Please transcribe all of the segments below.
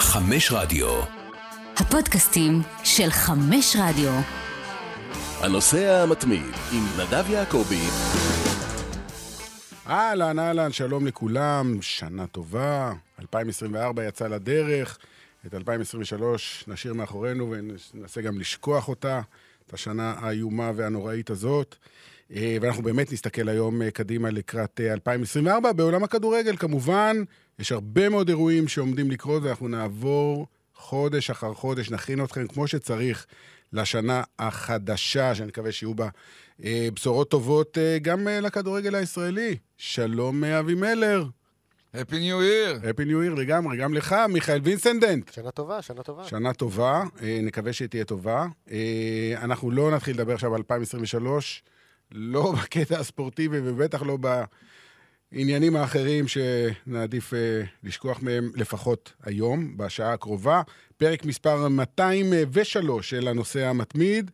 חמש רדיו. הפודקאסטים של חמש רדיו. הנוסע המתמיד עם נדב יעקבי. אהלן, אהלן, שלום לכולם, שנה טובה. 2024 יצא לדרך, את 2023 נשאיר מאחורינו וננסה גם לשכוח אותה, את השנה האיומה והנוראית הזאת. אה, ואנחנו באמת נסתכל היום אה, קדימה לקראת אה, 2024. בעולם הכדורגל, כמובן, יש הרבה מאוד אירועים שעומדים לקרות, ואנחנו נעבור חודש אחר חודש, נכין אתכם כמו שצריך לשנה החדשה, שאני מקווה שיהיו בה אה, בשורות טובות אה, גם אה, לכדורגל הישראלי. שלום, אה, אבי מלר. הפי ניו ייר! Happy New Year לגמרי, גם לך, מיכאל וינסנדנט. כן. שנה טובה, שנה טובה. שנה טובה, אה, נקווה שתהיה טובה. אה, אנחנו לא נתחיל לדבר עכשיו על 2023, לא בקטע הספורטיבי ובטח לא בעניינים האחרים שנעדיף אה, לשכוח מהם לפחות היום, בשעה הקרובה. פרק מספר 203 של הנושא המתמיד.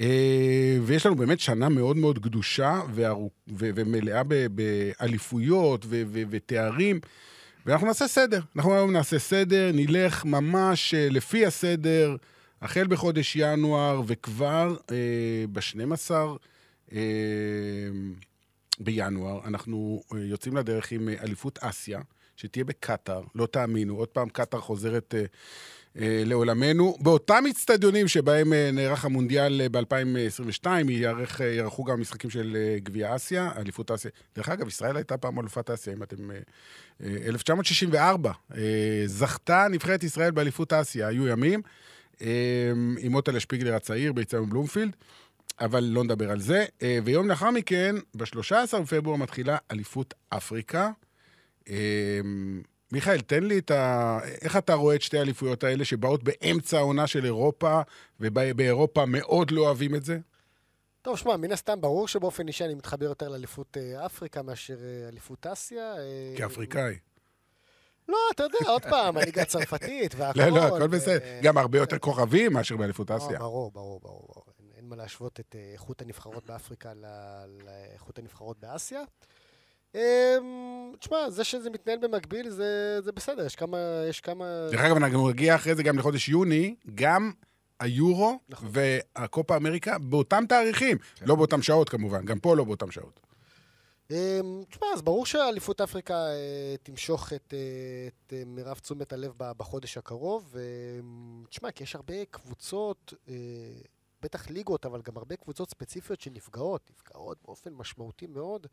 אה, ויש לנו באמת שנה מאוד מאוד גדושה וארוכ- ו- ומלאה ב- באליפויות ו- ו- ותארים. ואנחנו נעשה סדר. אנחנו היום נעשה סדר, נלך ממש אה, לפי הסדר, החל בחודש ינואר, וכבר אה, ב-12 אה, בינואר אנחנו אה, יוצאים לדרך עם אה, אליפות אסיה, שתהיה בקטאר, לא תאמינו, עוד פעם קטאר חוזרת... אה, אה, לעולמנו. באותם אצטדיונים שבהם אה, נערך המונדיאל ב-2022, ייערכו אה, גם המשחקים של אה, גביע אסיה, אליפות אסיה. דרך אגב, ישראל הייתה פעם אלופת אסיה, אם אתם... אה, אה, 1964, אה, זכתה נבחרת ישראל באליפות אסיה, היו ימים, אה, עם מוטלה שפיגלר הצעיר ביצעון בלומפילד. אבל לא נדבר על זה. אה, ויום לאחר מכן, ב-13 בפברואר מתחילה אליפות אפריקה. אמ, מיכאל, תן לי את ה... איך אתה רואה את שתי האליפויות האלה שבאות באמצע העונה של אירופה, ובאירופה מאוד לא אוהבים את זה? טוב, שמע, מן הסתם ברור שבאופן אישי אני מתחבר יותר לאליפות אה, אפריקה מאשר אה, אליפות אסיה. אה, כאפריקאי. לא, אתה יודע, עוד פעם, הליגה הצרפתית והכל. לא, לא, הכל בסדר. ו- גם הרבה אה, יותר כוכבים מאשר באליפות לא, אסיה. ברור, ברור, ברור. ברור. אין- אין מה להשוות את אה, איכות הנבחרות באפריקה ל- לאיכות הנבחרות באסיה. אמ, תשמע, זה שזה מתנהל במקביל זה זה בסדר, יש כמה... יש כמה... דרך אגב, אנחנו נגיע אחרי זה גם לחודש יוני, גם היורו נכון. והקופה אמריקה באותם תאריכים. לא באותם שעות כמובן, גם פה לא באותם שעות. אמ, תשמע, אז ברור שאליפות אפריקה אה, תמשוך את, אה, את אה, מירב תשומת הלב ב- בחודש הקרוב. אמ, תשמע, כי יש הרבה קבוצות, אה, בטח ליגות, אבל גם הרבה קבוצות ספציפיות שנפגעות, נפגעות באופן משמעותי מאוד.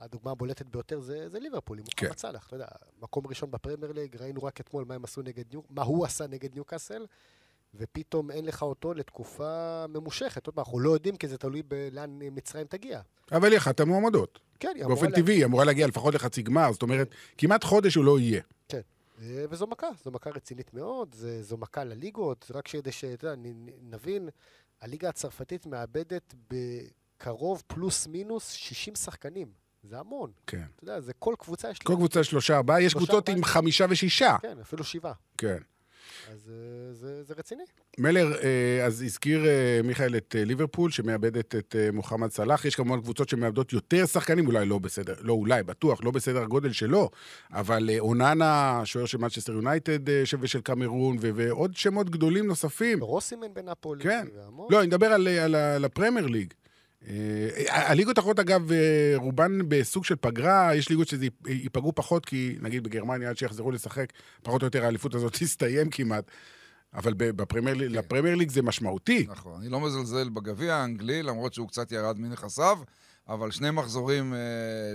הדוגמה הבולטת ביותר זה, זה ליברפול, עם מוחמד כן. סאלח, אתה יודע, מקום ראשון בפרמייר ליג, ראינו רק אתמול מה הם עשו נגד ניו, מה הוא עשה נגד ניוקאסל, ופתאום אין לך אותו לתקופה ממושכת. עוד פעם, אנחנו לא יודעים כי זה תלוי בלאן אה, מצרים תגיע. אבל היא אחת המועמדות. כן, היא אמורה באופן לה- טבעי, היא אמורה להגיע לפחות לחצי גמר, זאת אומרת, כמעט חודש הוא לא יהיה. אה, וזו מכה, זו מכה רצינית מאוד, זה, זו מכה לליגות, רק כדי שאתה יודע, נ- נ- נבין, הליגה הצרפתית מאבדת בקרוב פלוס מינוס 60 שחקנים. זה המון. כן. אתה יודע, זה כל קבוצה יש כל קבוצה שלושה ארבעה, יש שלושה, קבוצות ארבעה. עם חמישה ושישה. כן, אפילו שבעה. כן. אז אה, זה, זה רציני. מלר, אה, אז הזכיר אה, מיכאל את אה, ליברפול, שמאבדת את אה, מוחמד סלאח. יש כמובן קבוצות שמאבדות יותר שחקנים, אולי לא בסדר, לא אולי, בטוח, לא בסדר הגודל שלו, אבל אה, אוננה, שוער של מנצ'סטר יונייטד אה, ש- ושל קמרון, ו- ועוד שמות גדולים נוספים. רוסימן בנפולי. כן. והמון. לא, אני מדבר על, אה, על, ה- על הפרמייר ליג. אה, ה- הליגות האחרות, אגב, אה, רובן בסוג של פגרה, יש ליגות שזה ייפ- ייפגעו פחות, כי נגיד בגרמניה, עד שיחזרו לשחק, פחות או יותר האליפות הזאת תסתיים כמעט. אבל ב- בפרמייר כן. ליג, לפרמייר ליג זה משמעותי. נכון, אני לא מזלזל בגביע האנגלי, למרות שהוא קצת ירד מנכסיו, אבל שני מחזורים אה,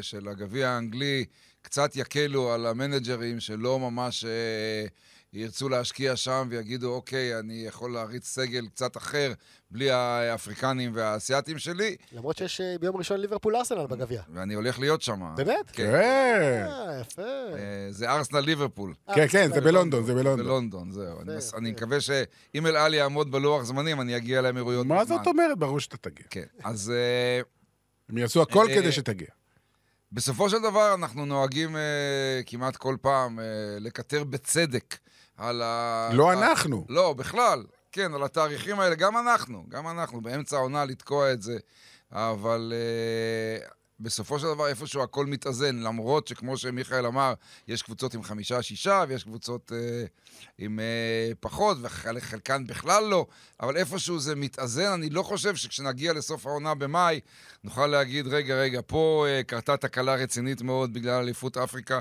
של הגביע האנגלי קצת יקלו על המנג'רים שלא ממש אה, ירצו להשקיע שם ויגידו, אוקיי, אני יכול להריץ סגל קצת אחר בלי האפריקנים והאסייתים שלי, למרות שיש אה, ביום ראשון ליברפול ארסנל בגביע. ואני הולך להיות שם. באמת? כן. אה, כן, אה, יפה. אה, זה ארסנל ליברפול. כן, כן, זה בלונדון, זה בלונדון. אה, בלונדון, זהו. אני מס- יפה. אני מקווה שאם אל על יעמוד בלוח זמנים, אני אגיע לאמירויות מה בזמן. זאת אומרת? ברור שאתה תגיע. כן, אז אה, הם יעשו הכל אה, כדי אה, שתגיע. בסופו של דבר אנחנו נוהגים אה, כמעט כל פעם אה, לקטר בצדק על ה... לא על- אנחנו. לא, בכלל. כן, על התאריכים האלה, גם אנחנו, גם אנחנו, באמצע העונה לתקוע את זה. אבל אה, בסופו של דבר איפשהו הכל מתאזן, למרות שכמו שמיכאל אמר, יש קבוצות עם חמישה, שישה, ויש קבוצות אה, עם אה, פחות, וחלקן בכלל לא, אבל איפשהו זה מתאזן. אני לא חושב שכשנגיע לסוף העונה במאי, נוכל להגיד, רגע, רגע, פה אה, קרתה תקלה רצינית מאוד בגלל אליפות אפריקה,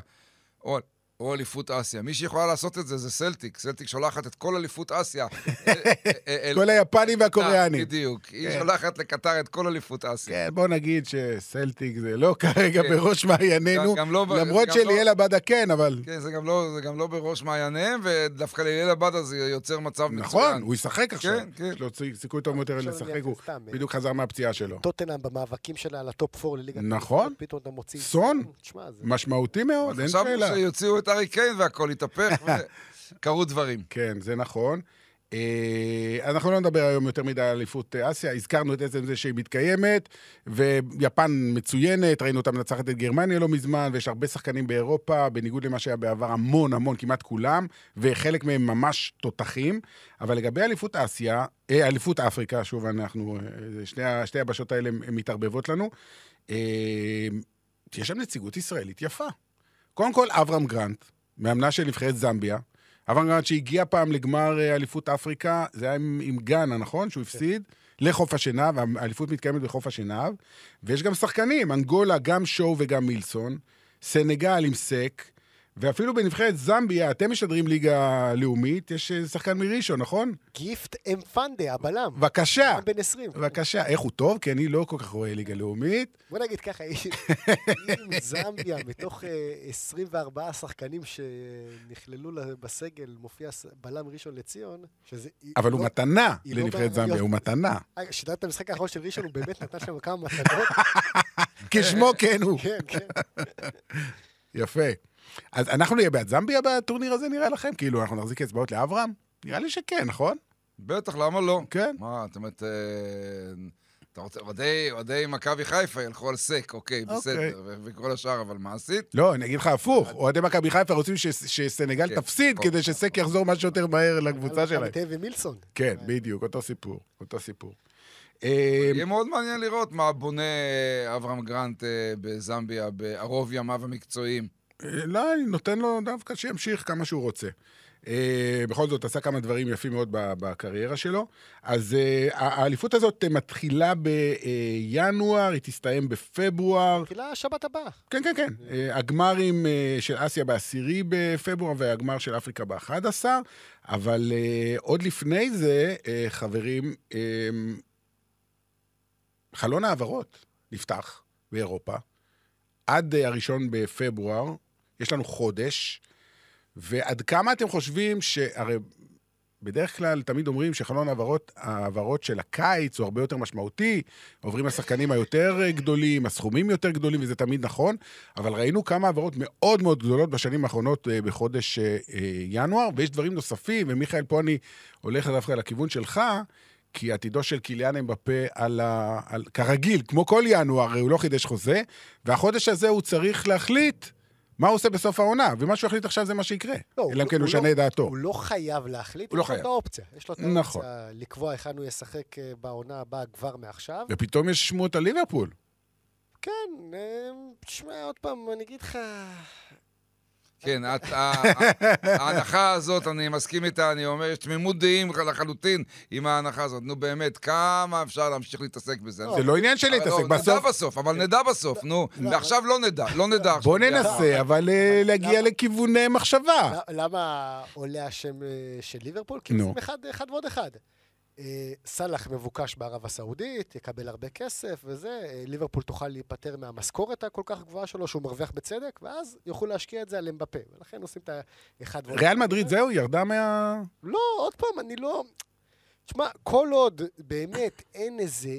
או או אליפות אסיה. מי שיכולה לעשות את זה זה סלטיק. סלטיק שולחת את כל אליפות אסיה. אה, אל- אל- כל היפנים והקוריאנים. אה, בדיוק. היא שולחת לקטר את כל אליפות אסיה. כן, בוא נגיד שסלטיק זה לא כרגע בראש מעיינינו, כן. גם לא ב- למרות גם שליאל עבדה כן, אבל... כן, זה גם לא, זה גם לא בראש מעייניהם, ודווקא לליל הבאדה זה יוצר מצב מצוין. נכון, הוא ישחק עכשיו. כן. יש לו צי- סיכוי טוב יותר עכשיו לשחק, אני הוא סתם, אה, בדיוק חזר מהפציעה שלו. טוטנאם במאבקים שלה על הטופ 4 לליגת... נכון. האלופות, פתאום אתה מוציא... סון? תשמע, זה... משמעותי מאוד, אין חשבנו שאלה. שיוציאו את הארי קיין והכל התהפך, וקרו דברים. כן, זה נכון. אה, אנחנו לא נדבר היום יותר מדי על אליפות אה, אסיה, הזכרנו את עצם זה שהיא מתקיימת, ויפן מצוינת, ראינו אותה מנצחת את גרמניה לא מזמן, ויש הרבה שחקנים באירופה, בניגוד למה שהיה בעבר, המון המון, כמעט כולם, וחלק מהם ממש תותחים. אבל לגבי אליפות אסיה, אה, אליפות אפריקה, שוב, אנחנו, אה, שני, ה- שתי היבשות האלה הן- הן מתערבבות לנו, אה, יש שם נציגות ישראלית יפה. קודם כל, אברהם גרנט, מאמנה של נבחרת זמביה. אברהם גרנט שהגיע פעם לגמר אה, אליפות אפריקה, זה היה עם, עם גאנה, נכון? כן. שהוא הפסיד לחוף השנהב, האליפות מתקיימת בחוף השנהב. ויש גם שחקנים, אנגולה, גם שואו וגם מילסון, סנגל עם סק, ואפילו בנבחרת זמביה, אתם משדרים ליגה לאומית, יש אה, שחקן מראשון, נכון? גיפט אמפנדה, הבלם. בבקשה, בן 20. בבקשה. איך הוא טוב? כי אני לא כל כך רואה ליגה לאומית. בוא נגיד ככה, אם זמביה, מתוך אה, 24 שחקנים שנכללו ל- בסגל, מופיע ס- בלם ראשון לציון, שזה... אבל הוא לא- מתנה היא לא לנבחרת זמביה, בערביות. הוא מתנה. אה, שידרת המשחק האחרון של ראשון, הוא באמת נתן שם כמה מתנות. כשמו כן הוא. כן, כן. יפה. אז אנחנו נהיה בעד זמביה בטורניר הזה, נראה לכם? כאילו, אנחנו נחזיק אצבעות לאברהם? נראה לי שכן, נכון? בטח, למה לא? כן. מה, זאת אומרת, אה, אתה רוצה, אוהדי- אוהדי מכבי חיפה ילכו על סק, אוקיי, אוקיי. בסדר, ו- וכל השאר, אבל מעשית? לא, אני אגיד לך הפוך, אוהדי מכבי חיפה רוצים ש- שסנגל כן. תפסיד נכון, כדי שסק יחזור מה שיותר מהר לקבוצה שלהם. מתאהב עם מילסון. כן, בדיוק, אותו סיפור, אותו סיפור. אה, יהיה מאוד מעניין לראות מה בונה אברהם גרנט אה, בזמביה, בערוב ימיו המקצועיים. אה, לא, אני נותן לו דווקא שימשיך כמה שהוא רוצה. אה, בכל זאת, עשה כמה דברים יפים מאוד ב- בקריירה שלו. אז אה, ה- האליפות הזאת אה, מתחילה בינואר, היא תסתיים בפברואר. תחילה השבת הבאה. כן, כן, כן. אה, הגמרים אה, של אסיה בעשירי בפברואר והגמר של אפריקה באחד עשר, אבל אה, עוד לפני זה, אה, חברים, אה, חלון העברות נפתח באירופה. עד אה, הראשון בפברואר, יש לנו חודש, ועד כמה אתם חושבים שהרי... בדרך כלל תמיד אומרים שחלון העברות, העברות של הקיץ הוא הרבה יותר משמעותי, עוברים השחקנים היותר אה, גדולים, הסכומים יותר גדולים, וזה תמיד נכון, אבל ראינו כמה העברות מאוד מאוד גדולות בשנים האחרונות אה, בחודש אה, אה, ינואר, ויש דברים נוספים, ומיכאל, פה אני הולך דווקא לכיוון שלך, כי עתידו של קיליאן אמבפה על ה... על... כרגיל, כמו כל ינואר, הרי הוא לא חידש חוזה, והחודש הזה הוא צריך להחליט מה הוא עושה בסוף העונה, ומה שהוא יחליט עכשיו זה מה שיקרה. לא, אלא אם כן הוא לא- ישנה את דעתו. הוא לא חייב להחליט, הוא לא יש לו את חייב. האופציה. יש לו את נכון. האופציה לקבוע היכן הוא ישחק אה, בעונה הבאה כבר מעכשיו. ופתאום יש שמועות על ליברפול. כן, אה, תשמע, עוד פעם, אני אגיד לך... כן, את- ה- ההנחה הזאת, אני מסכים איתה, אני אומר, יש תמימות דעים לחלוטין עם ההנחה הזאת. נו באמת, כמה אפשר להמשיך להתעסק בזה? לא, זה לא עניין של אבל להתעסק, לא, בסוף... נדע בסוף, אבל נדע בסוף, נו. ועכשיו לא נדע, לא נדע. בוא עכשיו. ננסה, אבל אה, להגיע למה? לכיווני מחשבה. ל- למה עולה השם אה, של ליברפול? כי נו. עושים אחד, אחד ועוד אחד. אה, סאלח מבוקש בערב הסעודית, יקבל הרבה כסף וזה, אה, ליברפול תוכל להיפטר מהמשכורת הכל כך גבוהה שלו, שהוא מרוויח בצדק, ואז יוכלו להשקיע את זה על אמבפה. ולכן עושים את האחד ועוד ריאל אחד. מדריד זהו, ירדה מה... לא, עוד פעם, אני לא... תשמע, כל עוד באמת אין איזה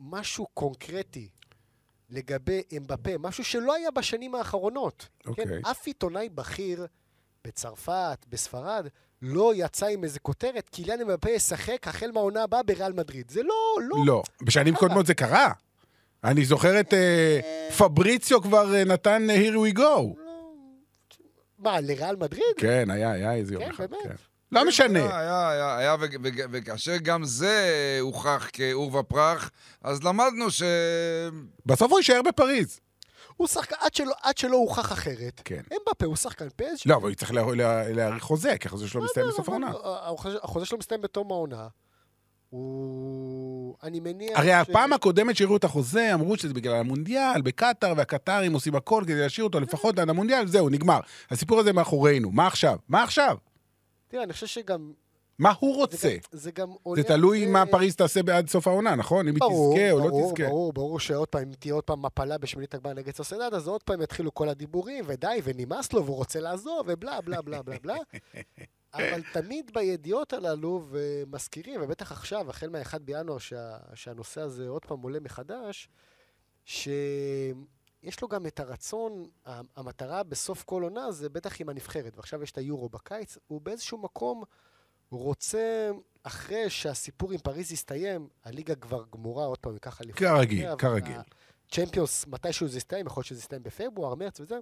משהו קונקרטי לגבי אמבפה, משהו שלא היה בשנים האחרונות. אוקיי. כן, אף עיתונאי בכיר בצרפת, בספרד, לא יצא עם איזה כותרת, קיליאן אמבפה ישחק החל מהעונה הבאה בריאל מדריד. זה לא, לא. לא. בשנים קודמות זה קרה. אני זוכר את אה, פבריציו כבר אה, נתן אה, here we go. לא. מה, לריאל מדריד? כן, היה, היה איזה יום כן, אחד. באמת. כן. לא משנה. היה, היה, היה, היה וג- וג- וכאשר גם זה הוכח כעורבא פרח, אז למדנו ש... בסוף הוא יישאר בפריז. הוא שחקן, עד שלא, עד שלא הוכח אחרת. כן. אמבפה הוא שחקן פז' לא, אבל הוא צריך לה- לה- להאריך חוזה, כי החוזה שלו לא, מסתיים בסוף העונה. החוזה- החוזה שלו מסתיים בתום העונה. הוא... אני מניח הרי הפעם הקודמת שהראו את החוזה, אמרו שזה בגלל המונדיאל, בקטאר, והקטרים עושים הכל כדי להשאיר אותו כן. לפחות עד המונדיאל, זהו, נגמר. הסיפור הזה מאחורינו. מה עכשיו? מה עכשיו? תראה, אני חושב שגם... מה הוא זה לא רוצה? גם- זה גם זה הולך תלוי ל- מה פריז תעשה עד סוף העונה, נכון? אם היא ברור, תזכה או לא ברור, תזכה. ברור, ברור שעוד פעם, אם תהיה עוד פעם מפלה בשמינית הגמר נגד סוסדד, אז עוד פעם יתחילו כל הדיבורים, ודי, ונמאס לו, והוא רוצה לעזוב, ובלה, בלה, בלה, בלה, בלה. אבל תמיד בידיעות הללו, ומזכירים, ובטח עכשיו, החל מה-1 בינואר, שה, שהנושא הזה עוד פעם עולה מחדש, שיש לו גם את הרצון, ה- המטרה בסוף כל עונה זה בטח עם הנבחרת, ועכשיו יש את היורו בקיץ, הוא באיזשהו מקום רוצה, אחרי שהסיפור עם פריז יסתיים, הליגה כבר גמורה, עוד פעם, היא ככה לפני. כרגיל, כרגיל. צ'מפיונס, מתישהו זה יסתיים, יכול להיות שזה יסתיים בפברואר, מרץ וזה,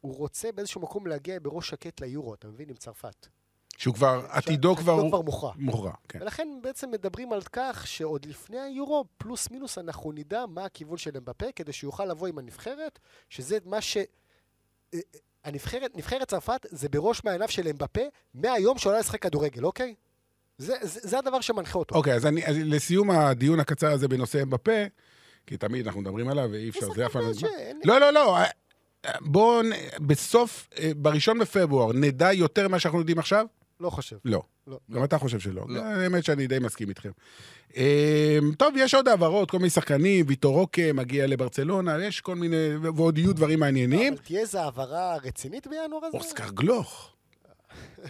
הוא רוצה באיזשהו מקום להגיע בראש שקט ליורו, אתה מבין? עם צרפת. שהוא כבר, עתידו כבר עתידו כבר מוכרע. מוכרע. כן. ולכן בעצם מדברים על כך שעוד לפני היורו, פלוס מינוס, אנחנו נדע מה הכיוון של אמבפה, כדי שיוכל לבוא עם הנבחרת, שזה מה ש... אה, הנבחרת, נבחרת צרפת זה בראש מעייניו של אמבפה מהיום שהוא עלה לשחק כדורגל, אוקיי? זה, זה, זה הדבר שמנחה אותו. אוקיי, אז אני, אז לסיום הדיון הקצר הזה בנושא אמבפה, כי תמיד אנחנו מדברים עליו ואי אפשר, זה אף פעם לא ש- נגמר. אין לי- לא, לא, לא. אה, אה, בואו, נ- בסוף, אה, בראשון בפברואר, נדע יותר מה שאנחנו יודעים עכשיו? לא חושב. לא. לא. גם אתה חושב שלא. אה, לא. האמת שאני די מסכים איתכם. אה, טוב, יש עוד העברות, כל מיני שחקנים, ויטור רוקה מגיע לברצלונה, יש כל מיני, ו- ועוד יהיו דברים מעניינים. אבל תהיה איזו העברה רצינית בינואר הזה? אוסקר גלוך.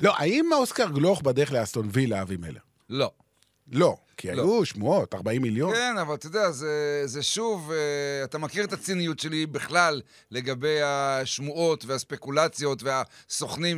לא, האם אוסקר גלוך בדרך לאסטון וילה, אבי מלר? לא. לא, כי לא. היו שמועות, 40 מיליון. כן, אבל אתה יודע, זה, זה שוב, אה, אתה מכיר את הציניות שלי בכלל לגבי השמועות והספקולציות והסוכנים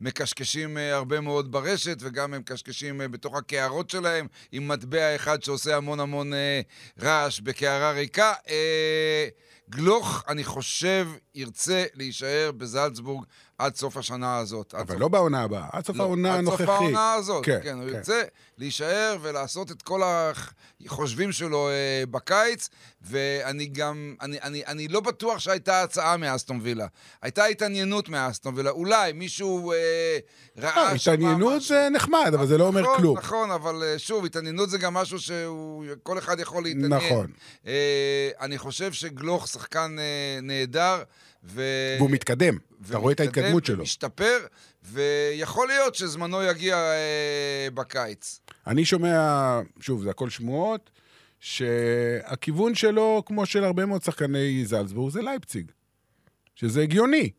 שמקשקשים אה, הרבה מאוד ברשת, וגם הם מקשקשים אה, בתוך הקערות שלהם, עם מטבע אחד שעושה המון המון אה, רעש בקערה ריקה. אה, גלוך, אני חושב, ירצה להישאר בזלצבורג עד סוף השנה הזאת. עד אבל סוף לא בעונה הבאה, עד סוף העונה הנוכחית. עד סוף העונה הזאת, כן, כן. כן. הוא כן. ירצה להישאר ולעשות את כל החושבים שלו אה, בקיץ, ואני גם, אני, אני, אני לא בטוח שהייתה הצעה מאסטון וילה. הייתה התעניינות מאסטון וילה. אולי מישהו אה, לא, ראה... שמה התעניינות משהו. זה נחמד, אבל זה לא אומר נכון, כלום. נכון, אבל אה, שוב, התעניינות זה גם משהו שכל אחד יכול להתעניין. נכון. אה, אני חושב שגלוך שחקן אה, נהדר, ו... והוא מתקדם, אתה רואה את ההתקדמות שלו. משתפר, ויכול להיות שזמנו יגיע אה, בקיץ. אני שומע, שוב, זה הכל שמועות, שהכיוון שלו, כמו של הרבה מאוד שחקני זלצבורג, זה לייפציג. שזה הגיוני.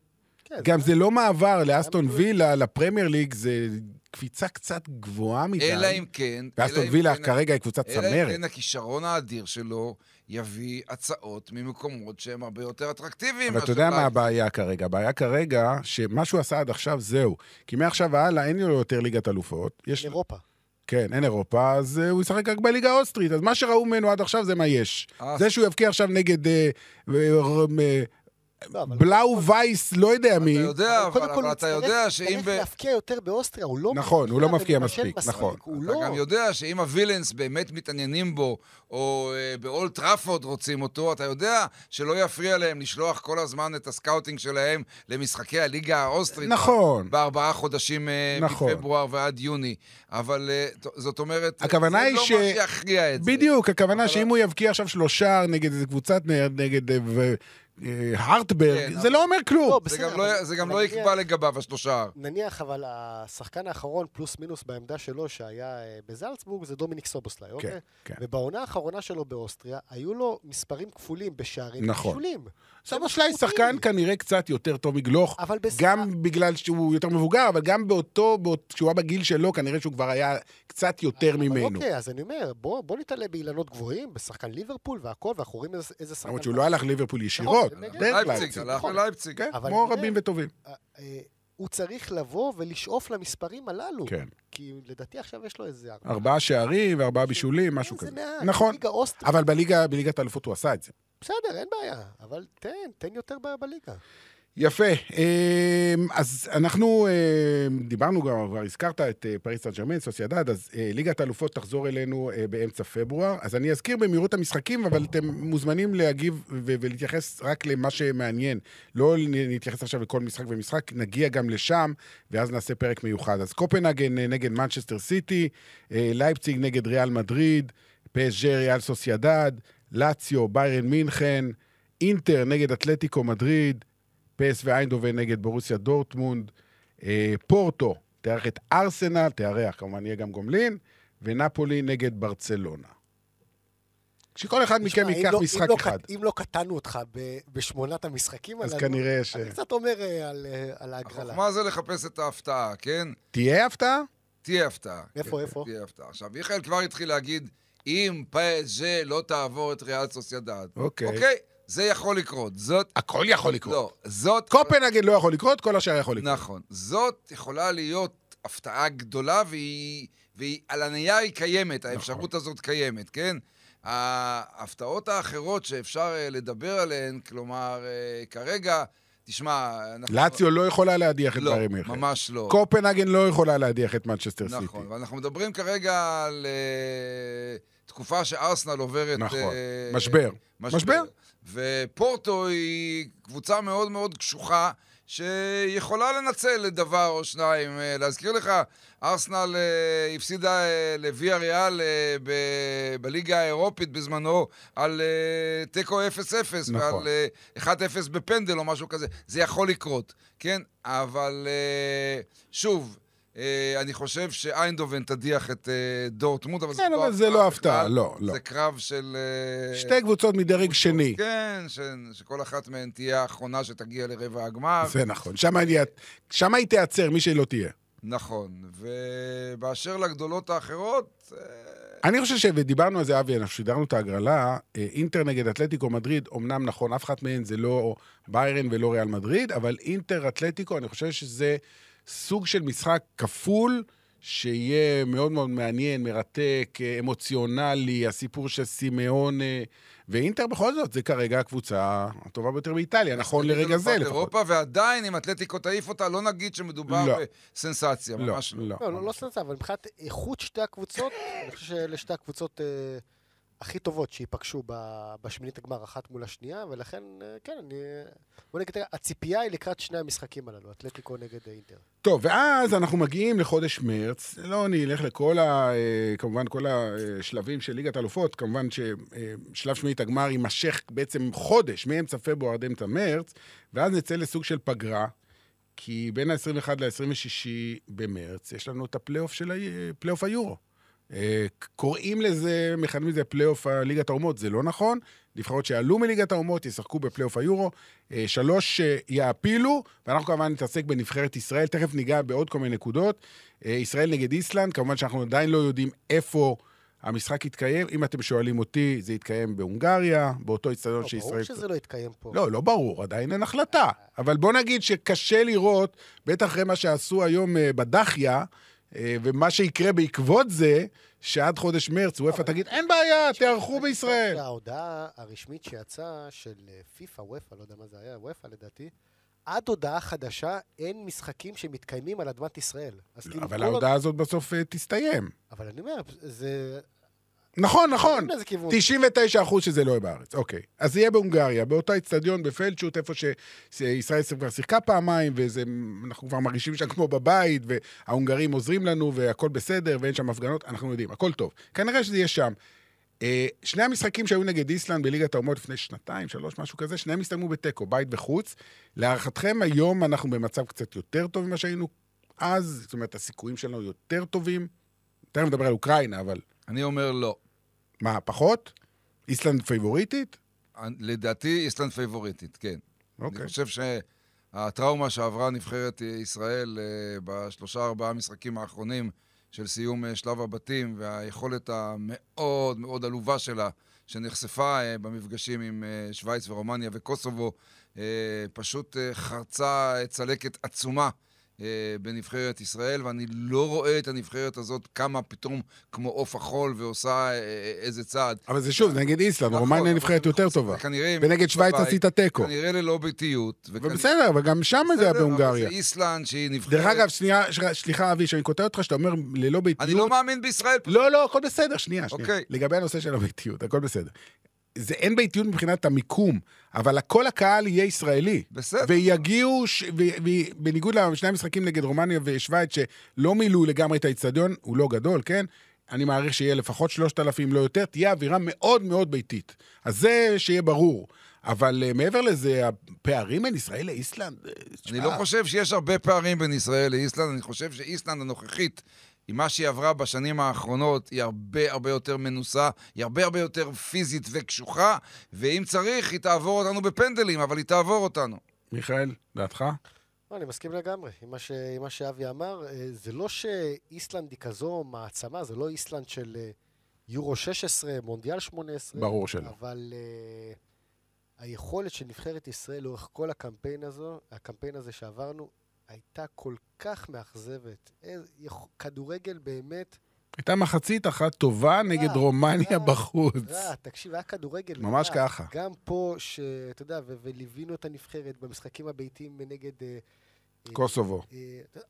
כן, גם זה לא מעבר לאסטון וילה, לפרמייר ליג, זה קפיצה קצת גבוהה מדי. אלא אם כן... ואסטון אלא אם וילה כן- כרגע היא קבוצת אלא אם צמרת. כן הכישרון האדיר שלו יביא הצעות ממקומות שהם הרבה יותר אטרקטיביים. אבל אתה מאשר יודע מה לייפ- הבעיה כרגע? הבעיה כרגע, שמה שהוא עשה עד עכשיו, זהו. כי מעכשיו והלאה אין לו יותר ליגת אלופות. יש... אירופה. כן, אין אירופה, אז אה, הוא ישחק רק בליגה האוסטרית. אז מה שראו ממנו עד עכשיו זה מה יש. אה. זה שהוא יבקיע עכשיו נגד אה, אה, אה, לא, אבל... בלאו וייס, לא יודע אתה מי. יודע, אבל אבל, קודם כל אבל הוא אתה יצטרך- יודע שאם... ב- יצטרך להפקיע יותר באוסטריה, הוא לא... נכון, הוא לא מפקיע ולהירשם מספיק, בסרט, נכון. הוא אתה לא... גם יודע שאם הווילנס באמת מתעניינים בו, או אה, באולט טראפורד רוצים אותו, אתה יודע שלא יפריע להם לשלוח כל הזמן את הסקאוטינג שלהם למשחקי הליגה האוסטרית. נכון. בארבעה חודשים אה, נכון. מפברואר ועד יוני. אבל אה, ת- זאת אומרת, הכוונה זה היא לא ש- מה שיכריע את זה. בדיוק, הכוונה אבל- שאם הוא יבקיע עכשיו שלושה נגד איזה קבוצת נר, נגד אה, ו- אה, הרטברג, כן, זה אבל- לא אומר כלום. לא, זה בסדר, גם לא- אבל- זה גם אבל לא נניח- יקבע לגביו השלושה. נניח, אבל השחקן האחרון, פלוס מינוס בעמדה שלו, שהיה אה, בזלצבורג, זה דומיניק סובוסליי, אוקיי? כן. ובעונה האחרונה שלו באוסטריה, היו לו מספרים כפולים בשערים נכון. כפולים. סבושליי שחקן כנראה קצת יותר טוב מגלוך, אבל בס- גם בגלל שהוא יותר מבוגר, אבל גם באותו, באות- כשהוא היה בגיל שלו, כנראה שהוא כבר היה קצת יותר אבל ממנו. אוקיי, אז אני אומר, בוא בוא נתעלה באילנות גבוהים, בשחקן ליברפול והכל, ואנחנו רואים איזה- איזה שחקן... למרות שהוא לא הלך ליברפול ישירות, נכון, נגד דרך לייפציג, לייפציג. הלך נכון. ללייפציג. כן, אבל כמו נראה. רבים וטובים. אה, אה, הוא צריך לבוא ולשאוף למספרים הללו. כן. כי לדעתי עכשיו יש לו איזה... ארבעה- ארבעה שערים וארבעה בישולים, משהו כן, כזה. זה מעט. נכון. ליגה אוסטרית, אבל בליגה, בליגת האלופות הוא עשה את זה. בסדר, אין בעיה. אבל תן, תן יותר ב- בליגה. יפה. אמ, אז אנחנו אמ, דיברנו גם, כבר הזכרת את אה, פריס סן ג'רמן, סוסיידד, אז אה, ליגת האלופות תחזור אלינו אה, באמצע פברואר. אז אני אזכיר במהירות המשחקים, אבל אתם מוזמנים להגיב ו- ולהתייחס רק למה שמעניין. לא נ- נתייחס עכשיו לכל משחק ומשחק, נגיע גם לשם, ואז נעשה פרק מיוחד. אז קופנהגן אה, נגד מנצ'סטר סיטי, אה, לייפציג נגד ריאל מדריד, פסג'ה ריאל סוסיידד, לאציו, ביירן מינכן, אינטר נגד אתלטיקו מדריד, פס ואיינדובן נגד בורוסיה דורטמונד, אה, פורטו תארח את ארסנל, תארח, כמובן יהיה גם גומלין, ונפולי נגד ברצלונה. שכל אחד תשמע, מכם אם ייקח לא- אם משחק לא ק- אחד. אם לא קטענו אותך ב- בשמונת המשחקים אז הללו, כנראה ש... אני קצת אומר אה, על, אה, על ההגרלה. החוכמה זה לחפש את ההפתעה, כן? תהיה הפתעה? תהיה הפתעה. איפה, איפה? תהיה הפתעה. עכשיו, מיכאל כבר התחיל להגיד, אם פז'ה לא תעבור את ריאל סוסיידד. אוקיי. אוקיי? זה יכול לקרות. זאת... הכל יכול לקרות. לא, זאת... קופנהגן לא יכול לקרות, כל השאר יכול לקרות. נכון. זאת יכולה להיות הפתעה גדולה, והיא, והיא על הנייר היא קיימת, נכון. האפשרות הזאת קיימת, כן? ההפתעות האחרות שאפשר אה, לדבר עליהן, כלומר, אה, כרגע, תשמע, אנחנו... לאציו לא יכולה להדיח את נכון. לא, ביירן מינכן. ממש לא. קופנהגן לא יכולה להדיח את מנצ'סטר סיטי. נכון, ואנחנו מדברים כרגע על אה, תקופה שארסנל עוברת... נכון. אה, משבר. משבר. ופורטו היא קבוצה מאוד מאוד קשוחה, שיכולה לנצל דבר או שניים. אה, להזכיר לך, ארסנל אה, הפסידה אה, לוויה ריאל אה, ב- בליגה האירופית בזמנו על אה, תיקו 0-0, נכון. ועל אה, 1-0 בפנדל או משהו כזה. זה יכול לקרות, כן? אבל אה, שוב, אה, אני חושב שאיינדובן תדיח את אה, דורטמונד, אבל כן, אבל זה לא בכלל. הפתעה, לא, לא. זה קרב של... אה, שתי קבוצות מדרג שני. כן, ש... שכל אחת מהן תהיה האחרונה שתגיע לרבע הגמר. זה נכון. שמה היא- שמה היא תיעצר, מי שלא תהיה. נכון. ובאשר לגדולות האחרות, אה, אני חושב ש- ודיברנו על זה, אבי, אנחנו שידרנו את ההגרלה, אה, אינטר נגד אתלטיקו מדריד, אמנם נכון, אף אחת מהן זה לא ביירן ולא ריאל מדריד, אבל אינטר אתלטיקו, אני חושב שזה סוג של משחק כפול, שיהיה מאוד מאוד מעניין, מרתק, אה, אמוציונלי, הסיפור של סימאון, ואינטר בכל זאת, זה כרגע הקבוצה הטובה ביותר באיטליה, נכון לרגע זה אלופת לפחות. לא אירופה, ועדיין, אם אתלטיקו תעיף אותה, לא נגיד שמדובר לא. בסנסציה, לא, ממש לא. לא. לא, לא, לא סנסה, אבל מבחינת איכות שתי הקבוצות, אני חושב שאלה שתי הקבוצות אה, הכי טובות שייפגשו ב- בשמינית הגמר, אחת מול השנייה, ולכן, אה, כן, אני... בוא נגיד, ככה, הציפייה היא לקראת שני המשחקים הללו, אתלטיקו נגד אינטר. טוב, ואז אנחנו מגיעים לחודש מרץ. לא נלך לכל ה... אה, כמובן, כל השלבים של ליגת אלופות. כמובן אה, ששלב שמינית הגמר יימשך בעצם חודש, מאמצע פברואר עד אמצע מרץ, ואז נצא לסוג של פגרה, כי בין ה-21 ל-26 במרץ יש לנו את הפלייאוף של ה... פלייאוף היורו. אה, קוראים לזה, מכנים לזה פלייאוף ה- ליגת האומות, זה לא נכון. נבחרות שעלו מליגת האומות ישחקו בפלייאוף היורו, אה, שלוש אה, יעפילו, ואנחנו כמובן נתעסק בנבחרת ישראל, תכף ניגע בעוד כל מיני נקודות. אה, ישראל נגד איסלנד, כמובן שאנחנו עדיין לא יודעים איפה המשחק יתקיים. אם אתם שואלים אותי, זה יתקיים בהונגריה, באותו לא, אצטדיון ברור שישראל... שזה לא יתקיים פה. לא, לא ברור, עדיין אין החלטה. אבל בוא נגיד שקשה לראות, בטח אחרי מה שעשו היום אה, בדחיה, אה, ומה שיקרה בעקבות זה, שעד חודש מרץ וופא תגיד, אין בעיה, תיערכו בישראל. ההודעה הרשמית שיצאה של אה, פיפ"א, וופ"א, לא יודע מה זה היה, וופ"א לדעתי, עד הודעה חדשה אין משחקים שמתקיימים על אדמת ישראל. אז כאילו, אבל כל ההודעה הזאת בסוף אה, תסתיים. עוד- אבל אני אומר, זה... נכון, נכון. לאיזה כיוון. 99 אחוז שזה לא יהיה בארץ, אוקיי. אז זה יהיה בהונגריה, באותו אצטדיון בפלדשוט, איפה שישראל כבר שיחקה פעמיים, ואנחנו כבר מרגישים שם כמו בבית, וההונגרים עוזרים לנו, והכול בסדר, ואין שם הפגנות, אנחנו יודעים, הכל טוב. כנראה שזה יהיה שם. אה, שני המשחקים שהיו נגד איסלנד בליגת האומות לפני שנתיים, שלוש, משהו כזה, שניהם הסתיימו בתיקו, בית וחוץ. להערכתכם, היום אנחנו במצב קצת יותר טוב ממה שהיינו אז, זאת אומרת, הסיכויים שלנו יותר טובים. תכף נדבר על אוקראינה, אבל אני אומר לא. מה, פחות? איסלנד פייבוריטית? אני- לדעתי, איסלנד פייבוריטית, כן. אוקיי. אני חושב שהטראומה שעברה נבחרת ישראל אה, בשלושה ארבעה המשחקים האחרונים של סיום אה, שלב הבתים והיכולת המאוד מאוד עלובה שלה שנחשפה אה, במפגשים עם אה, שווייץ ורומניה וקוסובו אה, פשוט אה, חרצה אה, צלקת עצומה אה, בנבחרת ישראל, ואני לא רואה את הנבחרת הזאת קמה פתאום כמו עוף החול ועושה אה, אה, איזה צעד. אבל זה שוב, זה נגד איסלאם, נכון, רומניה אבל נבחרת זה יותר מחוץ- טובה. כנראה- ונגד שווייץ בבית, עשית תיקו. כנראה ללא ביתיות. וכנ- ובסדר, אבל גם שם זה היה בסדר, אבל בהונגריה. זה איסלנד שהיא נבחרת. דרך אגב, שנייה, ש- סליחה אבי, שאני קוטע אותך, שאתה אומר ללא ביתיות. אני לא מאמין בישראל. לא, לא, הכל בסדר, שנייה, שנייה. אוקיי. לגבי הנושא של הביתיות, הכל בסדר. זה אין ביתיות מבחינת המיקום, אבל כל הקהל יהיה ישראלי. בסדר. ויגיעו, ש... ו... ו... בניגוד לשני המשחקים נגד רומניה ושווייץ, שלא מילאו לגמרי את האיצטדיון, הוא לא גדול, כן? אני מעריך שיהיה לפחות 3,000, לא יותר, תהיה אווירה מאוד מאוד ביתית. אז זה שיהיה ברור. אבל אה, מעבר לזה, הפערים בין ישראל לאיסלנד... אה, אני תשמע, לא חושב שיש הרבה פערים בין ישראל לאיסלנד, אני חושב שאיסלנד הנוכחית, עם מה שהיא עברה בשנים האחרונות, היא הרבה הרבה יותר מנוסה, היא הרבה הרבה יותר פיזית וקשוחה, ואם צריך, היא תעבור אותנו בפנדלים, אבל היא תעבור אותנו. מיכאל, דעתך? לא, אני מסכים לגמרי עם מה, ש... עם מה שאבי אמר. אה, זה לא שאיסלנד היא כזו מעצמה, זה לא איסלנד של אה, יורו 16, מונדיאל 18. ברור שלא. אבל אה, היכולת של נבחרת ישראל לאורך כל הקמפיין הזו, הקמפיין הזה שעברנו, הייתה כל כך מאכזבת. איזה- יכ- כדורגל באמת הייתה מחצית אחת טובה נגד רע, רומניה רע, בחוץ. רע, אה, תקשיב, היה כדורגל ממש רע. ככה. גם פה, שאתה יודע, ו- וליווינו את הנבחרת במשחקים הביתיים נגד... אה, אה, קוסובו. אה,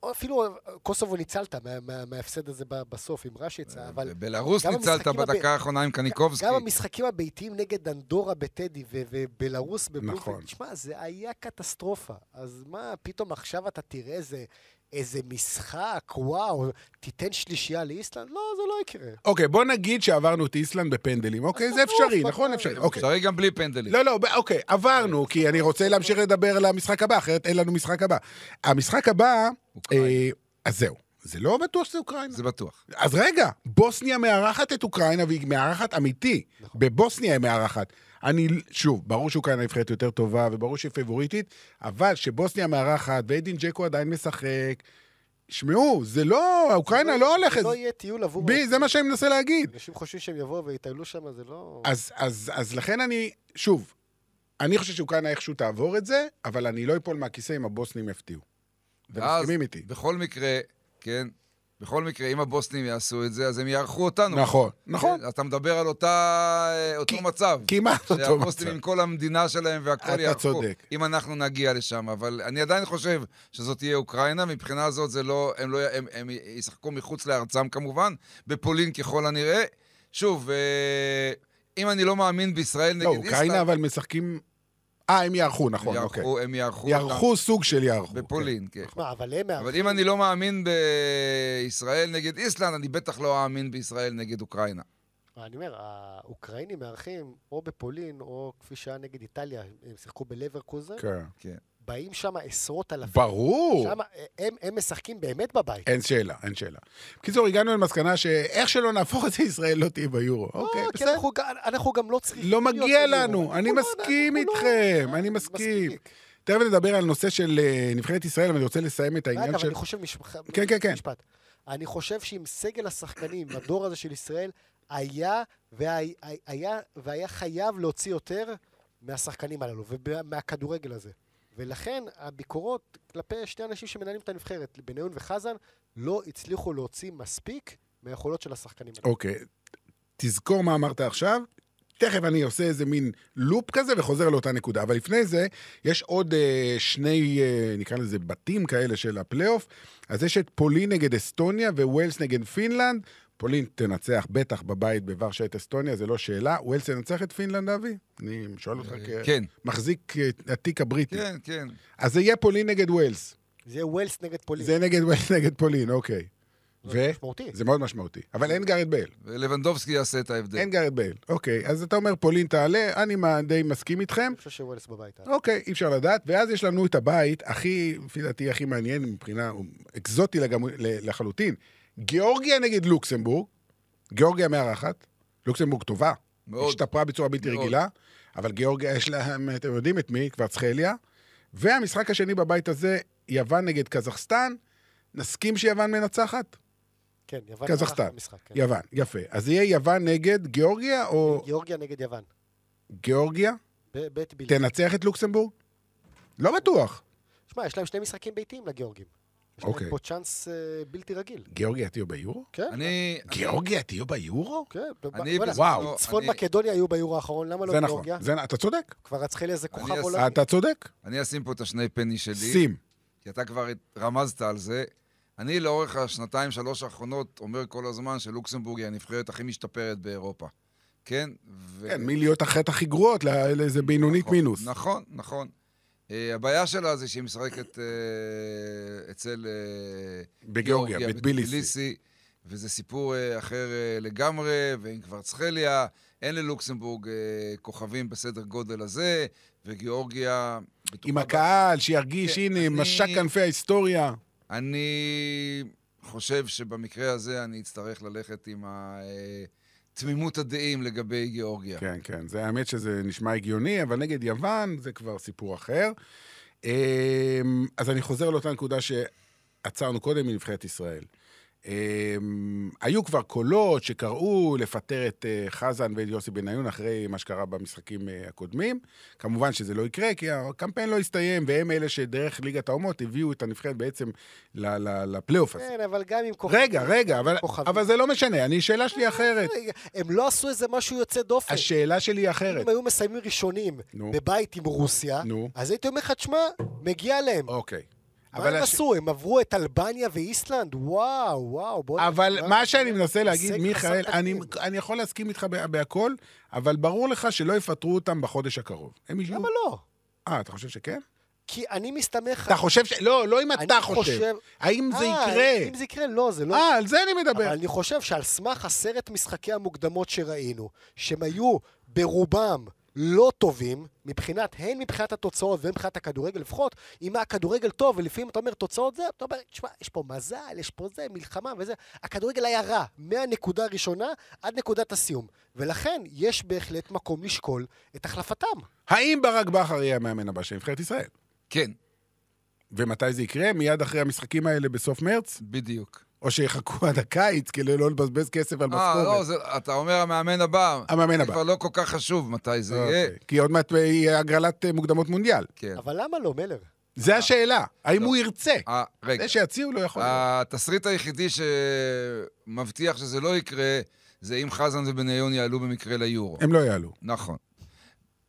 או אפילו קוסובו ניצלת מה- מה- מההפסד הזה ב- בסוף עם אה, רשיצה, אבל בלרוס גם ניצלת המשחקים הב- בדקה האחרונה עם קניקובסקי. גם המשחקים הביתיים נגד אנדורה בטדי ו- ובלרוס בבלומפילד, נכון. תשמע, זה היה קטסטרופה. אז מה, פתאום עכשיו אתה תראה איזה, איזה משחק, וואו, תיתן שלישייה לאיסלנד? לא, זה לא יקרה. אוקיי, בוא נגיד שעברנו את איסלנד בפנדלים, אוקיי? זה בטוח, אפשרי, בטוח. נכון? אפשרי, אוקיי. אפשרי גם בלי פנדלים. לא, לא, ב- אוקיי, עברנו, כי אני רוצה להמשיך לדבר על המשחק הבא, אחרת אין לנו משחק הבא. המשחק הבא, אוקראינה. אה, אז זהו. זה לא בטוח שזה אוקראינה. זה בטוח. אז רגע, בוסניה מארחת את אוקראינה, והיא מארחת אמיתי. בבוסניה היא מארחת. אני, שוב, ברור שאוקראינה נבחרת יותר טובה, וברור שהיא פבוריטית, אבל שבוסניה מארחת, ואדין ג'קו עדיין משחק, שמעו, זה לא, אוקראינה לא הולכת. לא יהיה טיול עבור... בי, זה מה שאני מנסה להגיד. אנשים חושבים שהם יבואו ויטיילו שם, זה לא... אז, אז, אז לכן אני, שוב, אני חושב שאוקראינה איכשהו תעבור את זה, אבל אני לא אפול מהכיסא אם הבוסנים יפתיעו. ואז, ומסכימים איתי. בכל מקרה, כן, בכל מקרה, אם הבוסנים יעשו את זה, אז הם יערכו אותנו. נכון, נכון. כן, אתה מדבר על אותה, אה, אותו כי- מצב. כמעט אותו מצב. שהפוסטים עם כל המדינה שלהם והכל אתה יערכו. צודק. אם אנחנו נגיע לשם, אבל אני עדיין חושב שזאת תהיה אוקראינה, מבחינה זאת זה לא, הם, לא, הם, הם ישחקו מחוץ לארצם כמובן, בפולין ככל הנראה. שוב, אה, אם אני לא מאמין בישראל נגד לא, איסלאם, אוקראינה אבל משחקים... אה, הם יערכו, הם נכון, אוקיי. יערכו, הם יערכו, אותם יערכו נכון. סוג של יערכו. אוקיי. בפולין, כן. מה, אבל הם... אבל אם אני לא מאמין בישראל נגד איסלנד, אני בטח לא אאמין בישראל נגד אוקראינה. אני אומר, האוקראינים מארחים או בפולין, או כפי שהיה נגד איטליה, הם שיחקו בלברקוזן, כן. כן. באים שם עשרות אלפים. ברור. שם הם, הם משחקים באמת בבית. אין שאלה, אין שאלה. בקיצור, הגענו למסקנה שאיך שלא נהפוך את זה, ישראל לא תהיה ביורו. לא, אוקיי, כי בסדר. אנחנו, גם- אנחנו גם לא צריכים... לא מגיע להיות לנו, ביורו. אני אנחנו לא- מסכים אנחנו לא- איתכם, אני אני מסכים. מספיק. תכף נדבר על נושא של אה, נבחרת ישראל, אבל אני רוצה לסיים את העניין אגב, של... אני חושב, משפח... כן, כן, כן. משפט. אני חושב שעם סגל השחקנים, הדור הזה של ישראל, היה והיה, היה, והיה חייב להוציא יותר מהשחקנים הללו ומהכדורגל הזה. ולכן הביקורות כלפי שני אנשים שמנהלים את הנבחרת, בניון וחזן, לא הצליחו להוציא מספיק מהיכולות של השחקנים האלה. אוקיי, תזכור מה אמרת עכשיו. תכף אני עושה איזה מין לופ כזה וחוזר לאותה נקודה. אבל לפני זה, יש עוד אה, שני, אה, נקרא לזה בתים כאלה של הפלייאוף. אז יש את פולין נגד אסטוניה וווילס נגד פינלנד. פולין תנצח בטח בבית בוורשה את אסטוניה, זה לא שאלה. ווילס תנצח את פינלנד, אבי? אני שואל אותך כן. כמחזיק אה, התיק הבריטי. כן, כן. אז זה יהיה פולין נגד ווילס. זה יהיה ווילס נגד פולין. אוקיי. זה נגד ווילס נגד פולין, אוקיי. ו? זה משמעותי. זה מאוד משמעותי. אבל אין גארד בייל. ולבנדובסקי יעשה את ההבדל. אין גארד בייל. אוקיי, אז אתה אומר פולין תעלה, אני מה- די מסכים איתכם. אני חושב שווילס בבית. אוקיי, אי אפשר לדעת. ואז יש לנו את הבית הכי, לפי דעתי, הכי מעניין מבחינה, הוא אקזוטי לגמרי- ל- לחלוטין. גיאורגיה נגד לוקסמבורג. גיאורגיה מארחת. לוקסמבורג טובה. מאוד. השתפרה בצורה בלתי מאוד. רגילה. אבל גיאורגיה יש להם, אתם יודעים את מי, קוורצחליה. והמשחק השני בבית הזה, יוון נגד קזחסטן. נסכים שיוון מנצחת? כן, יוון. קזחסטן. מארחת במשחק, כן. יוון, יפה. אז יהיה יוון נגד גיאורגיה או גיאורגיה נגד יוון. גיאורגיה? ב- בית בילי. תנצח את לוקסמבורג? לא בטוח. שמע, יש להם שני משחקים ביתיים לגיאורגים. יש להם אוקיי. פה צ'אנס אה, בלתי רגיל. גיאורגיה תהיו ביורו? כן, אני... גיאורגיה תהיו ביורו? כן. אני וואלה, בזמנו- וואו, צפון אני- מקדוניה היו ביורו האחרון, למה לא זה נכון. גיאורגיה? זה נ- אתה צודק. כבר רצחי לאיזה כוכב אעשה- עולמי. אתה צודק. אני אשים פה את השני פני שלי. שים. כי אתה כבר רמזת על זה. אני לאורך השנתיים, שלוש האחרונות אומר כל הזמן שלוקסמבורג היא הנבחרת הכי משתפרת באירופה. כן? ו... כן, מלהיות אחת הכי גרועות ל- לאיזה בינונית נכון, מינוס. נכון, נכון. אה, הבעיה שלה זה שהיא משחקת אה, אצל... אה, בגיאורגיה, בטביליסי. וזה סיפור אה, אחר אה, לגמרי, ועם קוורצחליה, אין ללוקסמבורג אה, כוכבים בסדר גודל הזה, וגיאורגיה... בטוחה עם בה- הקהל, שירגיש, כן, הנה, אני- משק כנפי ההיסטוריה. אני חושב שבמקרה הזה אני אצטרך ללכת עם ה... אה, תמימות הדעים לגבי גיאורגיה. כן, כן, זה האמת שזה נשמע הגיוני, אבל נגד יוון זה כבר סיפור אחר. אמ, אז אני חוזר לאותה נקודה שעצרנו קודם מנבחרת ישראל. אמ, היו כבר קולות שקראו לפטר את אה, חזן ואת יוסי בניון אחרי מה שקרה במשחקים אה, הקודמים. כמובן שזה לא יקרה, כי הקמפיין לא הסתיים, והם אלה שדרך ליגת האומות הביאו את הנבחרת בעצם ל- ל- לפלייאוף הזה. כן, אבל גם עם כוכבים. רגע, רגע, אבל, כוכבים. אבל זה לא משנה, אני, השאלה שלי היא אחרת. רגע, הם לא עשו איזה משהו יוצא דופן. השאלה שלי היא אחרת. אם היו מסיימים ראשונים נו. בבית עם רוסיה, נו. אז הייתי אומר לך, תשמע, מגיע להם. אוקיי. מה הם הש- עשו? הם עברו את אלבניה ואיסלנד? וואו, וואו. בוא'נה, אבל מה- מה שאני מנסה להגיד, הישג מיכאל, חסר אני, תקדים. אני יכול להסכים איתך בה- בהכל, אבל ברור לך שלא יפטרו אותם בחודש הקרוב. הם ישבו... למה לא? אה, אתה חושב שכן? כי אני מסתמך... אתה חושב ש... לא, לא אם אני אתה חושב. האם זה אה, יקרה? אם זה יקרה, לא, זה לא... אה, על זה אני אבל מדבר. אני חושב שעל סמך עשרת משחקי המוקדמות שראינו, שהם היו ברובם לא טובים, מבחינת, הן מבחינת התוצאות והן מבחינת הכדורגל, לפחות אם היה כדורגל טוב, ולפעמים אתה אומר תוצאות זה, אתה אומר, תשמע, יש פה מזל, יש פה זה, מלחמה וזה, הכדורגל היה רע, מהנקודה הראשונה עד נקודת הסיום. ולכן, יש בהחלט מקום לשקול את החלפתם. האם ברק בכר יהיה המאמן הבא של נבחרת ישראל? כן, ומתי זה יקרה? מיד אחרי המשחקים האלה בסוף מרץ? בדיוק. או שיחכו עד הקיץ כדי לא לבזבז כסף על אה, לא, משכורת? זה- אתה אומר המאמן הבא. המאמן זה הבא. כבר לא כל כך חשוב מתי זה יהיה. אוקיי. כי עוד מעט יהיה הגרלת אה, מוקדמות מונדיאל. כן. אבל למה לא, מלר? זה השאלה. האם לא. הוא ירצה? אה, רגע, זה שיציעו לא יכול להיות. התסריט היחידי שמבטיח שזה לא יקרה, זה אם חזן ובניון יעלו במקרה ליורו. הם לא יעלו. נכון.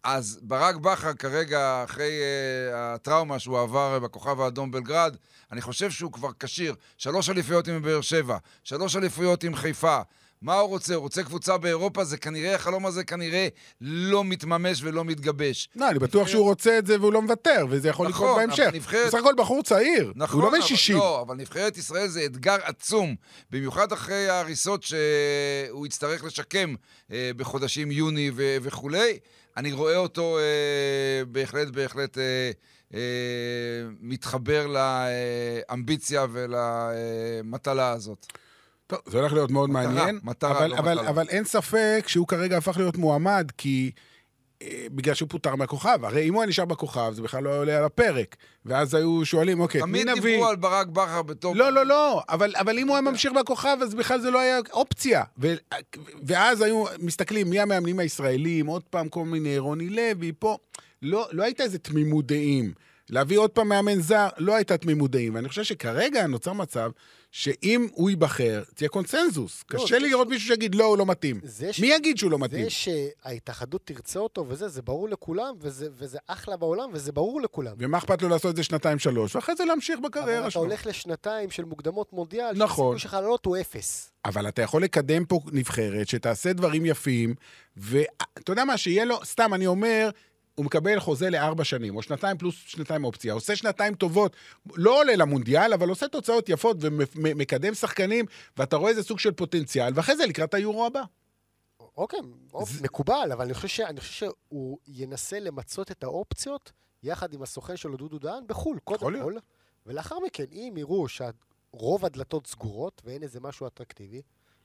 אז ברק בכר כרגע, אחרי uh, הטראומה שהוא עבר אה, בכוכב האדום בלגרד, אני חושב שהוא כבר כשיר. שלוש אליפויות עם באר שבע, שלוש אליפויות עם חיפה. מה הוא רוצה? הוא רוצה קבוצה באירופה, זה כנראה, החלום הזה כנראה לא מתממש ולא מתגבש. לא, אני בטוח שהוא רוצה את זה והוא לא מוותר, וזה יכול נכון, לקרות אבל בהמשך. נבחרת- הוא בסך הכל בחור צעיר, נכון, הוא לא בן אבל- 60. לא, אבל נבחרת ישראל זה אתגר עצום, במיוחד אחרי ההריסות שהוא יצטרך לשקם אה, בחודשים יוני ו- וכולי. אני רואה אותו אה, בהחלט, בהחלט אה, אה, מתחבר לאמביציה ולמטלה הזאת. טוב, זה הולך להיות מאוד מטרה, מעניין. מטרה, אבל- לא אבל- מטלה. אבל אין ספק שהוא כרגע הפך להיות מועמד, כי... אה, בגלל שהוא פוטר מהכוכב, הרי אם הוא היה נשאר בכוכב, זה בכלל לא היה עולה על הפרק. ואז היו שואלים, אוקיי, את מי תמיד נביא? דיברו על ברק בכר בתור... לא, לא, לא, אבל, אבל אם הוא היה ממשיך בכוכב, אז בכלל זה לא היה אופציה. ו, ואז היו מסתכלים מי המאמנים הישראלים, עוד פעם כל מיני רוני לוי, פה. לא, לא הייתה איזה תמימות דעים. להביא עוד פעם מאמן זר, לא הייתה תמימות דעים. ואני חושב שכרגע נוצר מצב שאם הוא ייבחר, תהיה קונצנזוס. לא, קשה זה לי לראות מישהו שיגיד, לא, הוא לא מתאים. זה ש- מי יגיד שהוא לא מתאים? זה שההתאחדות תרצה אותו וזה, זה ברור לכולם, וזה, וזה אחלה בעולם, וזה ברור לכולם. ומה אכפת לו לעשות את זה שנתיים-שלוש, ואחרי זה להמשיך אבל בקריירה אתה שלו. הולך לשנתיים של מוקדמות מונדיאל, נכון. שהסיכוי שלך לעלות הוא אפס. אבל אתה יכול לקדם פה נבחרת שתעשה דברים יפים, ואתה יודע מה, שיהיה לו, סתם, אני אומר, הוא מקבל חוזה לארבע שנים, או שנתיים פלוס שנתיים אופציה, עושה שנתיים טובות, לא עולה למונדיאל, אבל עושה תוצאות יפות ומקדם שחקנים, ואתה רואה איזה סוג של פוטנציאל, ואחרי זה לקראת היורו הבא. אוקיי, אופ, מקובל, אבל אני חושב, ש... אני חושב שהוא ינסה למצות את האופציות יחד עם הסוכן שלו, דודו דהן, בחו"ל, יכול קודם להיות. כל. ולאחר מכן, אם יראו שרוב הדלתות סגורות ואין איזה משהו אטרקטיבי,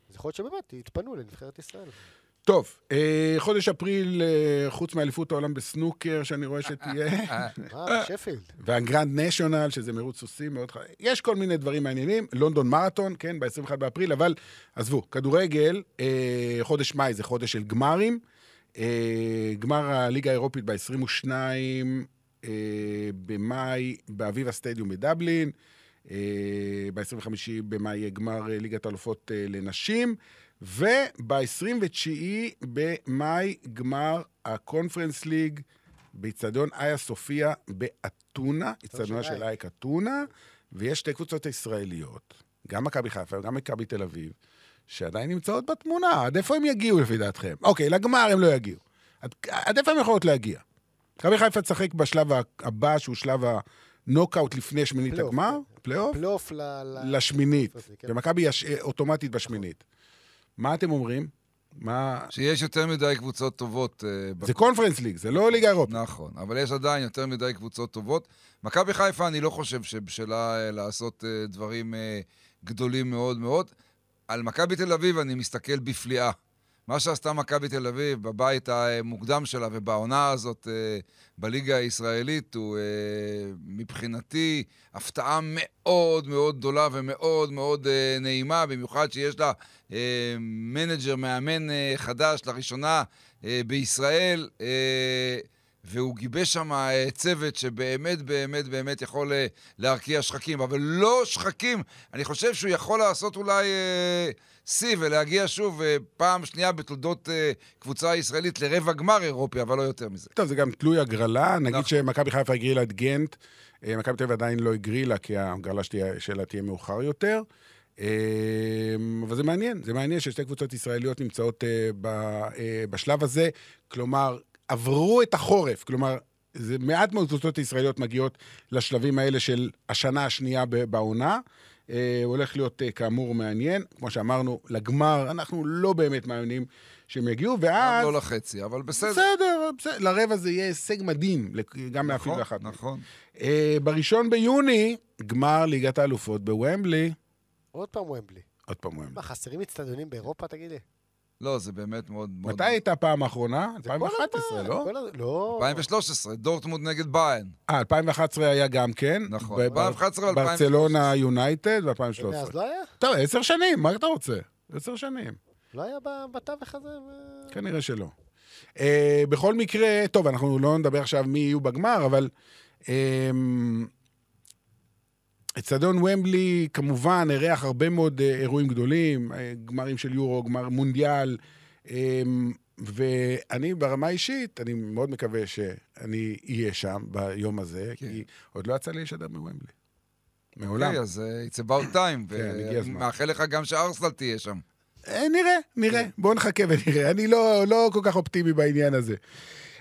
אז יכול להיות שבאמת יתפנו לנבחרת ישראל. טוב, אה, חודש אפריל, אה, חוץ מאליפות העולם בסנוקר, שאני רואה שתהיה, מה, שפילד? והגרנד נשיונל, שזה מירוץ סוסים מאוד חשוב. יש כל מיני דברים מעניינים. לונדון מרתון, כן, ב-21 באפריל, אבל עזבו, כדורגל, אה, חודש מאי זה חודש של גמרים. אה, גמר הליגה האירופית ב-22 אה, במאי, באביב הסטדיום בדבלין. ב-25 במאי יהיה גמר אה, ליגת אלופות אה, לנשים, וב-29 במאי גמר הקונפרנס ליג באיצטדיון איה סופיה באתונה, איצטדיונה של של אייק אתונה, ויש שתי קבוצות ישראליות, גם מכבי חיפה וגם מכבי תל אביב, שעדיין נמצאות בתמונה. עד איפה הם יגיעו לפי דעתכם? אוקיי, לגמר הם לא יגיעו. עד, עד איפה הם יכולות להגיע? מכבי חיפה תשחק בשלב ה- הבא, שהוא שלב הנוקאוט לפני שמינית פלייאוף. הגמר, פלייאוף, פלייאוף ל... ל- לשמינית. כן. ומכבי יש- אה, אוטומטית בשמינית. מה אתם אומרים? מה... שיש יותר מדי קבוצות טובות. אה, זה קונפרנס ליג, זה לא ליגה אירופית. נכון, אבל יש עדיין יותר מדי קבוצות טובות. מכבי חיפה, אני לא חושב שבשלה אה, לעשות אה, דברים אה, גדולים מאוד מאוד. על מכבי תל אביב אני מסתכל בפליאה. מה שעשתה מכבי תל אביב בבית המוקדם שלה ובעונה הזאת אה, בליגה הישראלית הוא אה, מבחינתי הפתעה מאוד מאוד גדולה ומאוד מאוד אה, נעימה, במיוחד שיש לה אה, מנג'ר, מאמן אה, חדש לראשונה אה, בישראל. אה, והוא גיבש שם אה, צוות שבאמת, באמת, באמת יכול אה, להרקיע שחקים, אבל לא שחקים. אני חושב שהוא יכול לעשות אולי אה, שיא ולהגיע שוב אה, פעם שנייה בתולדות אה, קבוצה ישראלית לרבע גמר אירופי, אבל לא יותר מזה. טוב, זה גם תלוי הגרלה. נגיד נכון. שמכבי חיפה הגרילה את גנט, אה, מכבי תל אביב עדיין לא הגרילה, כי ההגרלה שתהיה- שלה תהיה מאוחר יותר. אה, אבל זה מעניין, זה מעניין ששתי קבוצות ישראליות נמצאות אה, ב- אה, בשלב הזה. כלומר, עברו את החורף. כלומר, זה מעט מאוד קבוצות ישראליות מגיעות לשלבים האלה של השנה השנייה ב- בעונה. אה, הוא הולך להיות אה, כאמור מעניין. כמו שאמרנו, לגמר, אנחנו לא באמת מאמינים שהם יגיעו, ואז... גם לא לחצי, אבל בסדר. בסדר, בסדר. לרבע זה יהיה הישג מדהים, לכ- גם לאפילו נכון, אחת. נכון. אה, בראשון ביוני, גמר ליגת האלופות בוומבלי. עוד פעם ומבלי. עוד פעם וומבלי. מה, חסרים אצטדיונים באירופה, תגיד לי? לא, זה באמת מאוד מאוד... מתי הייתה הפעם האחרונה? נכון. זה כל 2011, הזמן, לא? כל הז- לא. 2013, דורטמונד נגד ביין. אה, 2011 היה גם כן. נכון. ב- 2011 ו- ברצלונה יונייטד הנה, ו-2013. אז לא היה? טוב, עשר שנים, מה אתה רוצה? עשר שנים. לא היה ב- בתווך הזה? ו- כנראה שלא. אה, בכל מקרה, טוב, אנחנו לא נדבר עכשיו מי יהיו בגמר, אבל... אמ, אצטדיון ומבלי כמובן אירח הרבה מאוד אה, אירועים גדולים, אה, גמרים של יורו, גמר מונדיאל, אמ, ואני ברמה האישית, אני מאוד מקווה שאני אהיה שם ביום הזה, כן. כי עוד לא יצא לי לשדר מוומבלי. מעולם. אוקיי, אז אה, it's about time. כן, הגיע הזמן. ומאחל לך גם שארסנל תהיה שם. אה, נראה, נראה. בואו נחכה ונראה. אני לא, לא כל כך אופטימי בעניין הזה.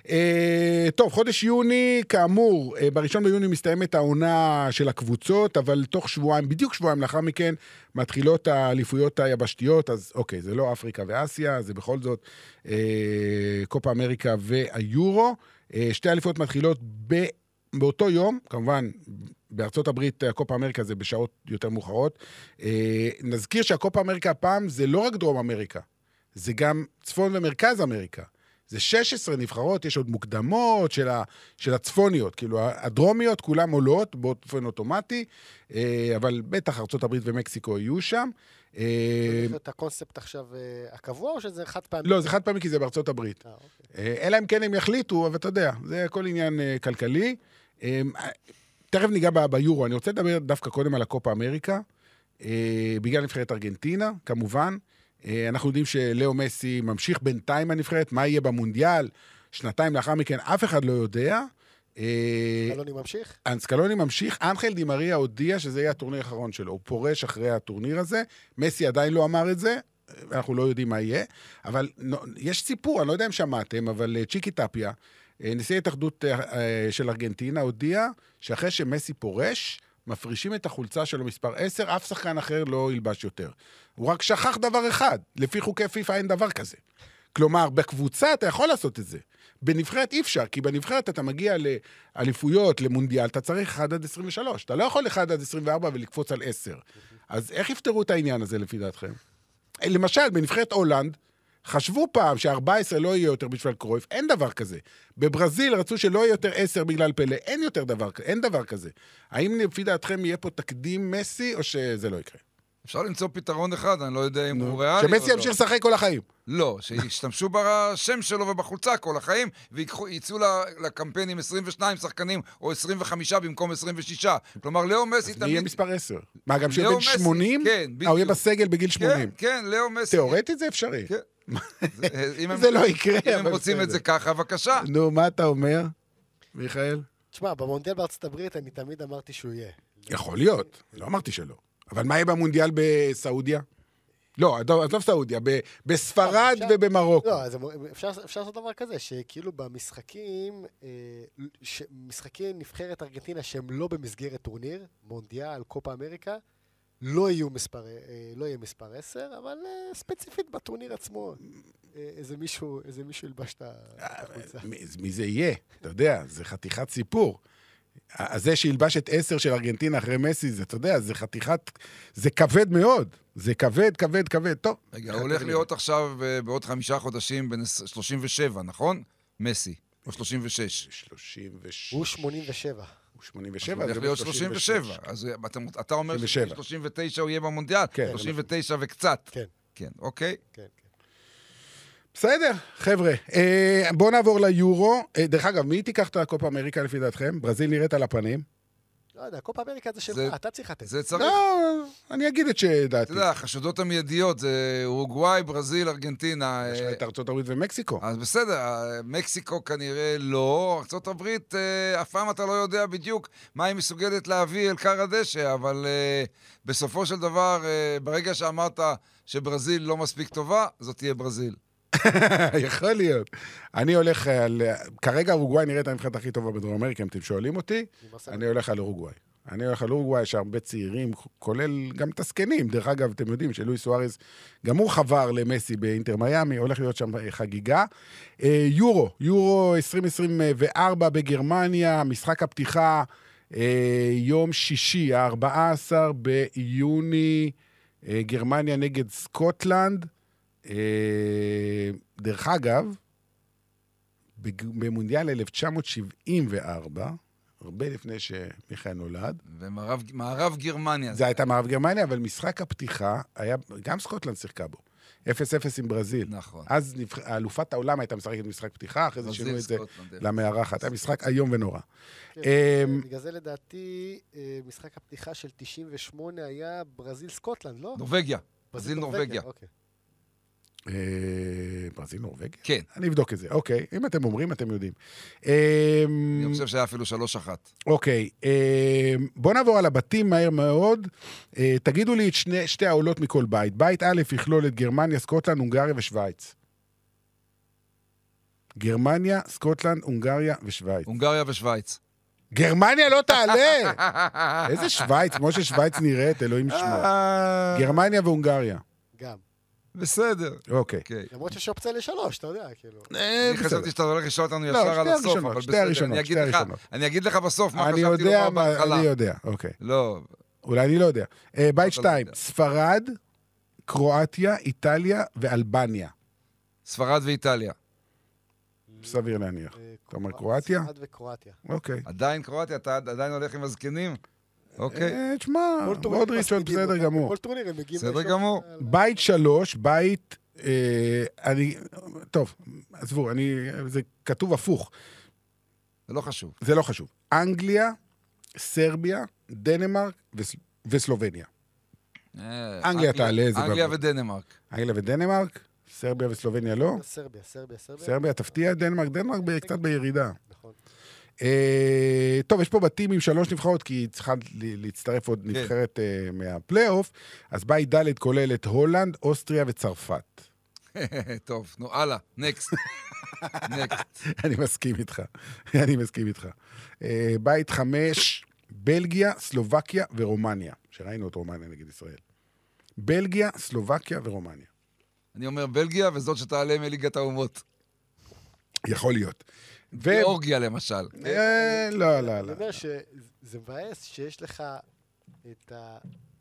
אה, טוב, חודש יוני, כאמור, אה, בראשון ביוני מסתיימת העונה של הקבוצות, אבל תוך שבועיים, בדיוק שבועיים לאחר מכן, מתחילות האליפויות היבשתיות, אז אוקיי, זה לא אפריקה ואסיה, זה בכל זאת אה, קופה אמריקה והיורו. אה, שתי אליפויות מתחילות ב... באותו יום, כמובן, בארצות הברית אה, הקופה אמריקה זה בשעות יותר מאוחרות. אה, נזכיר שהקופה אמריקה הפעם זה לא רק דרום אמריקה, זה גם צפון ומרכז אמריקה. זה 16 נבחרות, יש עוד מוקדמות של, ה, של הצפוניות, כאילו הדרומיות כולן עולות באופן אוטומטי, אה, אבל בטח ארה"ב ומקסיקו יהיו שם. אה, זה הקונספט עכשיו אה, הקבוע, או שזה חד פעמי? לא, זה חד פעמי כי זה בארצות הברית. אה, אוקיי. אה, אלא אם כן הם יחליטו, אבל אתה יודע, זה הכל עניין אה, כלכלי. אה, תכף ניגע ב- ביורו, אני רוצה לדבר דווקא קודם על הקופה אמריקה, אה, בגלל נבחרת ארגנטינה, כמובן. אה, אנחנו יודעים שלאו מסי ממשיך בינתיים הנבחרת, מה יהיה במונדיאל, שנתיים לאחר מכן, אף אחד לא יודע. אה, אלוני ממשיך? אנסקלוני ממשיך, אנחל דימריה הודיע שזה יהיה הטורניר האחרון שלו, הוא פורש אחרי הטורניר הזה, מסי עדיין לא אמר את זה, אנחנו לא יודעים מה יהיה, אבל נו, יש סיפור, אני לא יודע אם שמעתם, אבל אה, צ'יקי טפיה, אה, נשיא ההתאחדות אה, אה, של ארגנטינה, הודיע שאחרי שמסי פורש, מפרישים את החולצה שלו מספר 10, אף שחקן אחר לא ילבש יותר. הוא רק שכח דבר אחד, לפי חוקי פיפ"א אין דבר כזה. כלומר, בקבוצה אתה יכול לעשות את זה. בנבחרת אי אפשר, כי בנבחרת אתה מגיע לאליפויות, למונדיאל, אתה צריך 1 עד 23. אתה לא יכול 1 עד 24 ולקפוץ על 10. אז איך יפתרו את העניין הזה לפי דעתכם? אה, למשל, בנבחרת הולנד, חשבו פעם ש-14 לא יהיה יותר בשביל קרויף, אין דבר כזה. בברזיל רצו שלא יהיה יותר 10 בגלל פלא, אין יותר דבר, כ- אין דבר כזה. האם לפי דעתכם יהיה פה תקדים מסי, או שזה לא יקרה? אפשר למצוא פתרון אחד, אני לא יודע אם הוא ריאלי או לא. שמסי ימשיך לשחק כל החיים. לא, שישתמשו בשם שלו ובחולצה כל החיים, ויצאו לקמפיין עם 22 שחקנים או 25 במקום 26. כלומר, לאו מסי אז מי יהיה תמיד... מספר 10? מה, גם כשהוא לאו בן מסי, 80? כן, אה, הוא יהיה בדיוק. בסגל בגיל 80. כן, כן, לאו מסי. תיאורטית זה אפשרי. כן. זה- אם הם- זה לא יקרה, אם הם אבל רוצים את בסדר. זה ככה, בבקשה. נו, מה אתה אומר, מיכאל? תשמע, במונדיאל בארצות הברית אני תמיד אמרתי שהוא יהיה. יכול להיות, לא אמרתי שלא. אבל מה יהיה במונדיאל בסעודיה? לא, עזוב עזוב סעודיה, ב- בספרד אפשר- ובמרוקו. לא, אז הם- אפשר, אפשר לעשות דבר כזה, שכאילו במשחקים, אה, ש- משחקי נבחרת ארגנטינה שהם לא במסגרת טורניר, מונדיאל, קופה אמריקה, לא, יהיו מספר, אה, לא יהיה מספר 10, אבל אה, ספציפית בטורניר עצמו, אה, איזה מישהו, איזה מישהו ילבש את ה- את החולצה. מי- מי זה יהיה? אתה יודע, זה חתיכת סיפור. ה- זה שילבש את עשר של ארגנטינה אחרי מסי, זה, אתה יודע, זה חתיכת... זה כבד מאוד. זה כבד, כבד, כבד. טוב. רגע, הוא הולך להיות עכשיו אה, בעוד חמישה חודשים בן 37, נכון? מסי, או 36. 36... הוא 87. הוא הוא 87, הולך זה להיות 36. 37. אז אה, אתה, אתה אומר 37. ש-39 הוא יהיה במונדיאל, כן. 39 וקצת. כן, כן, אוקיי. כן, כן. בסדר, חבר'ה. אה, בואו נעבור ליורו. אה, דרך אגב, מי תיקח את הקופה אמריקה לפי דעתכם? ברזיל נראית על הפנים. לא יודע, קופה אמריקה זה שלך, זה- אתה צריך לתת. זה צריך... כן. לא, אני אגיד את שדעתי. אתה יודע, החשודות המיידיות זה אורוגוואי, ברזיל, ארגנטינה. יש אה, לך את ארצות הברית ומקסיקו. אז בסדר, אה, מקסיקו כנראה לא, ארה"ב, אף פעם אתה לא יודע בדיוק מה היא מסוגלת להביא אל כר הדשא, אבל אה, בסופו של דבר, אה, ברגע שאמרת שברזיל לא מספיק טובה, זאת תהיה ברזיל. יכול להיות. אני הולך על... כרגע אורוגוואי נראית הנבחרת הכי טובה בדרום אמריקה, אם אתם שואלים אותי. זה... אני הולך על אורוגוואי. אני הולך על אורוגוואי, יש הרבה צעירים, כולל גם את הזקנים. דרך אגב, אתם יודעים שלואי סוארז, גם הוא חבר למסי באינטר מיאמי, הולך להיות שם אה, חגיגה. אה, יורו, יורו 2024 בגרמניה, משחק הפתיחה, אה, יום שישי, ה-14 ביוני, אה, גרמניה נגד סקוטלנד. אה, דרך אגב, בג- במונדיאל 1974, הרבה לפני שמיכאל נולד, ומערב מערב גרמניה. זה הייתה מערב גרמניה, אבל משחק הפתיחה היה, גם סקוטלנד שיחקה בו. 0-0 עם ברזיל. נכון. אז נבח... אלופת העולם הייתה משחקת משחק פתיחה, אחרי זה אה, ברזיל, שינו את זה סקוטלנד, אפס. למארחת. היה משחק איום ונורא. כן, אמ, בגלל זה לדעתי, אה, משחק הפתיחה של 98 היה ברזיל-סקוטלנד, לא? נורבגיה. ברזיל נורבגיה. אוקיי. אה, ברזיל נורבגיה? כן. אני אבדוק את זה. אוקיי, אם אתם אומרים, אתם יודעים. אה, אני חושב שהיה אפילו שלוש אחת. אוקיי, אה, בואו נעבור על הבתים מהר מאוד. אה, תגידו לי את שני, שתי העולות מכל בית. בית א' יכלול את גרמניה, סקוטלנד, הונגריה ושווייץ. גרמניה, סקוטלנד, הונגריה ושווייץ. הונגריה ושווייץ. גרמניה לא תעלה! איזה שווייץ, כמו ששווייץ נראית, אלוהים ישמור. אה, גרמניה והונגריה. גם. בסדר. אוקיי. אוקיי. למרות שיש אופציה לשלוש, אתה יודע, כאילו. אה, אני חשבתי שאתה הולך לשאול אותנו אה, לא, ישר שתי על הסוף, הראשונות, אבל שתי בסדר, הראשונות, אני אגיד שתי לך, הראשונות. אני אגיד לך בסוף מה אני חשבתי יודע, לומר מה- בהתחלה. אני יודע, אוקיי. לא, אולי אני לא יודע. אה, בית אתה לא שתיים, יודע. ספרד, קרואטיה, איטליה ואלבניה. ספרד ואיטליה. סביר להניח. אה, אתה אומר קרואט- קרואטיה? ספרד וקרואטיה. אוקיי. עדיין קרואטיה, אתה עד- עדיין הולך עם הזקנים? אוקיי, אה, תשמע, כל טורניר מודריץ' עוד מספידים בסדר אותם, גמור. כל טורניר הם מגיעים... בסדר לשלוש. גמור. בית שלוש, בית... אה, אני... טוב, עזבו, אני... זה כתוב הפוך. זה לא חשוב. זה לא חשוב. אנגליה, סרביה, דנמרק וס- וסלובניה. אה, תעלה, זה אנגליה בטוח. ודנמרק. אנגליה ודנמרק, סרביה וסלובניה לא. סרביה, סרביה, סרביה. סרביה תפתיע, דנמרק, דנמרק ב- קצת בירידה. נכון. אה, טוב, יש פה בתים עם שלוש נבחרות, כי צריכה ל- להצטרף כן. עוד נבחרת אה, מהפלייאוף. אז בית ד' כולל את הולנד, אוסטריה וצרפת. טוב, נו, הלאה, נקסט. נקסט. אני מסכים איתך, אני מסכים איתך. אה, בית חמש, בלגיה, סלובקיה ורומניה, שראינו את רומניה נגד ישראל. בלגיה, סלובקיה ורומניה. אני אומר בלגיה, וזאת שתעלה מליגת האומות. יכול להיות. ו... גיאורגיה למשל. אה, לא, לא, אני לא. אומר שזה מבאס שיש לך את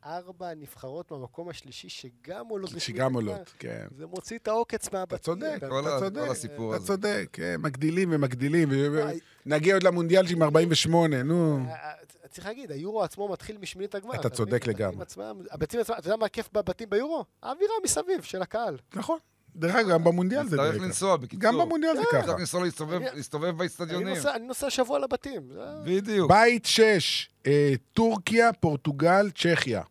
הארבע נבחרות מהמקום השלישי שגם עולות. שגם לפני עולות, הזמן. כן. זה מוציא את העוקץ מהבתים. אתה צודק, אתה- כן, כל אתה ה- כל צודק, הסיפור אתה הזה. צודק, אה, מגדילים ומגדילים, ו- וואי. נגיע עוד למונדיאל עם 48, נו. אה, אה, צריך להגיד, היורו עצמו מתחיל משמינית הגמר. אתה צודק מבין? הבתים לגמרי. עצמם- הבתים עצמם, אתה יודע מה הכיף בבתים ביורו? האווירה מסביב של הקהל. נכון. דרך אגב, גם במונדיאל זה צריך דרך אגב. לנסוע, בקיצור. אה, גם במונדיאל זה ככה. צריך לנסוע להסתובב- אני- להסתובב אני באצטדיונים. נוסע- אני נוסע שבוע לבתים. זה- בדיוק. בית 6, טורקיה, פורטוגל, צ'כיה.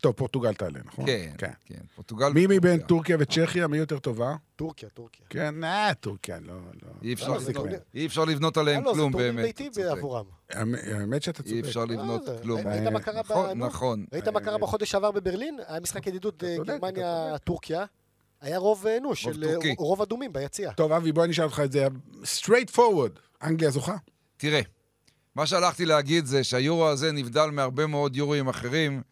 טוב, פורטוגל תעלה, נכון? כן, כן. פורטוגל. מי מבין ופורטוגל. טורקיה וצ'כיה, מי יותר טובה? טורקיה, טורקיה. כן, אה, טורקיה, לא... לא. אי אפשר לא, זה לבנות- טורניר- אי אפשר לבנות עליהם הלו, אה, לא, זה כלום, טורניר באמת. ביתי אתה צודק. עבורם. האמ- האמת שאתה אי צודק. אפשר לבנות זה- כלום. ראית מה קרה נכון, ב- נו? נכון. ראית מה קרה בחודש שעבר בברלין? היה משחק ידידות אתה אה, צודק, אתה גרמניה-טורקיה. היה רוב אה, נו, של אה, טורקי. רוב אדומים ביציע. טוב, אבי, בוא אני אשאל אותך את זה. straight forward, אנגליה זוכה? תראה, מה שהלכתי להגיד זה שהיורו הזה נבדל מהרבה מאוד יורואים אחרים,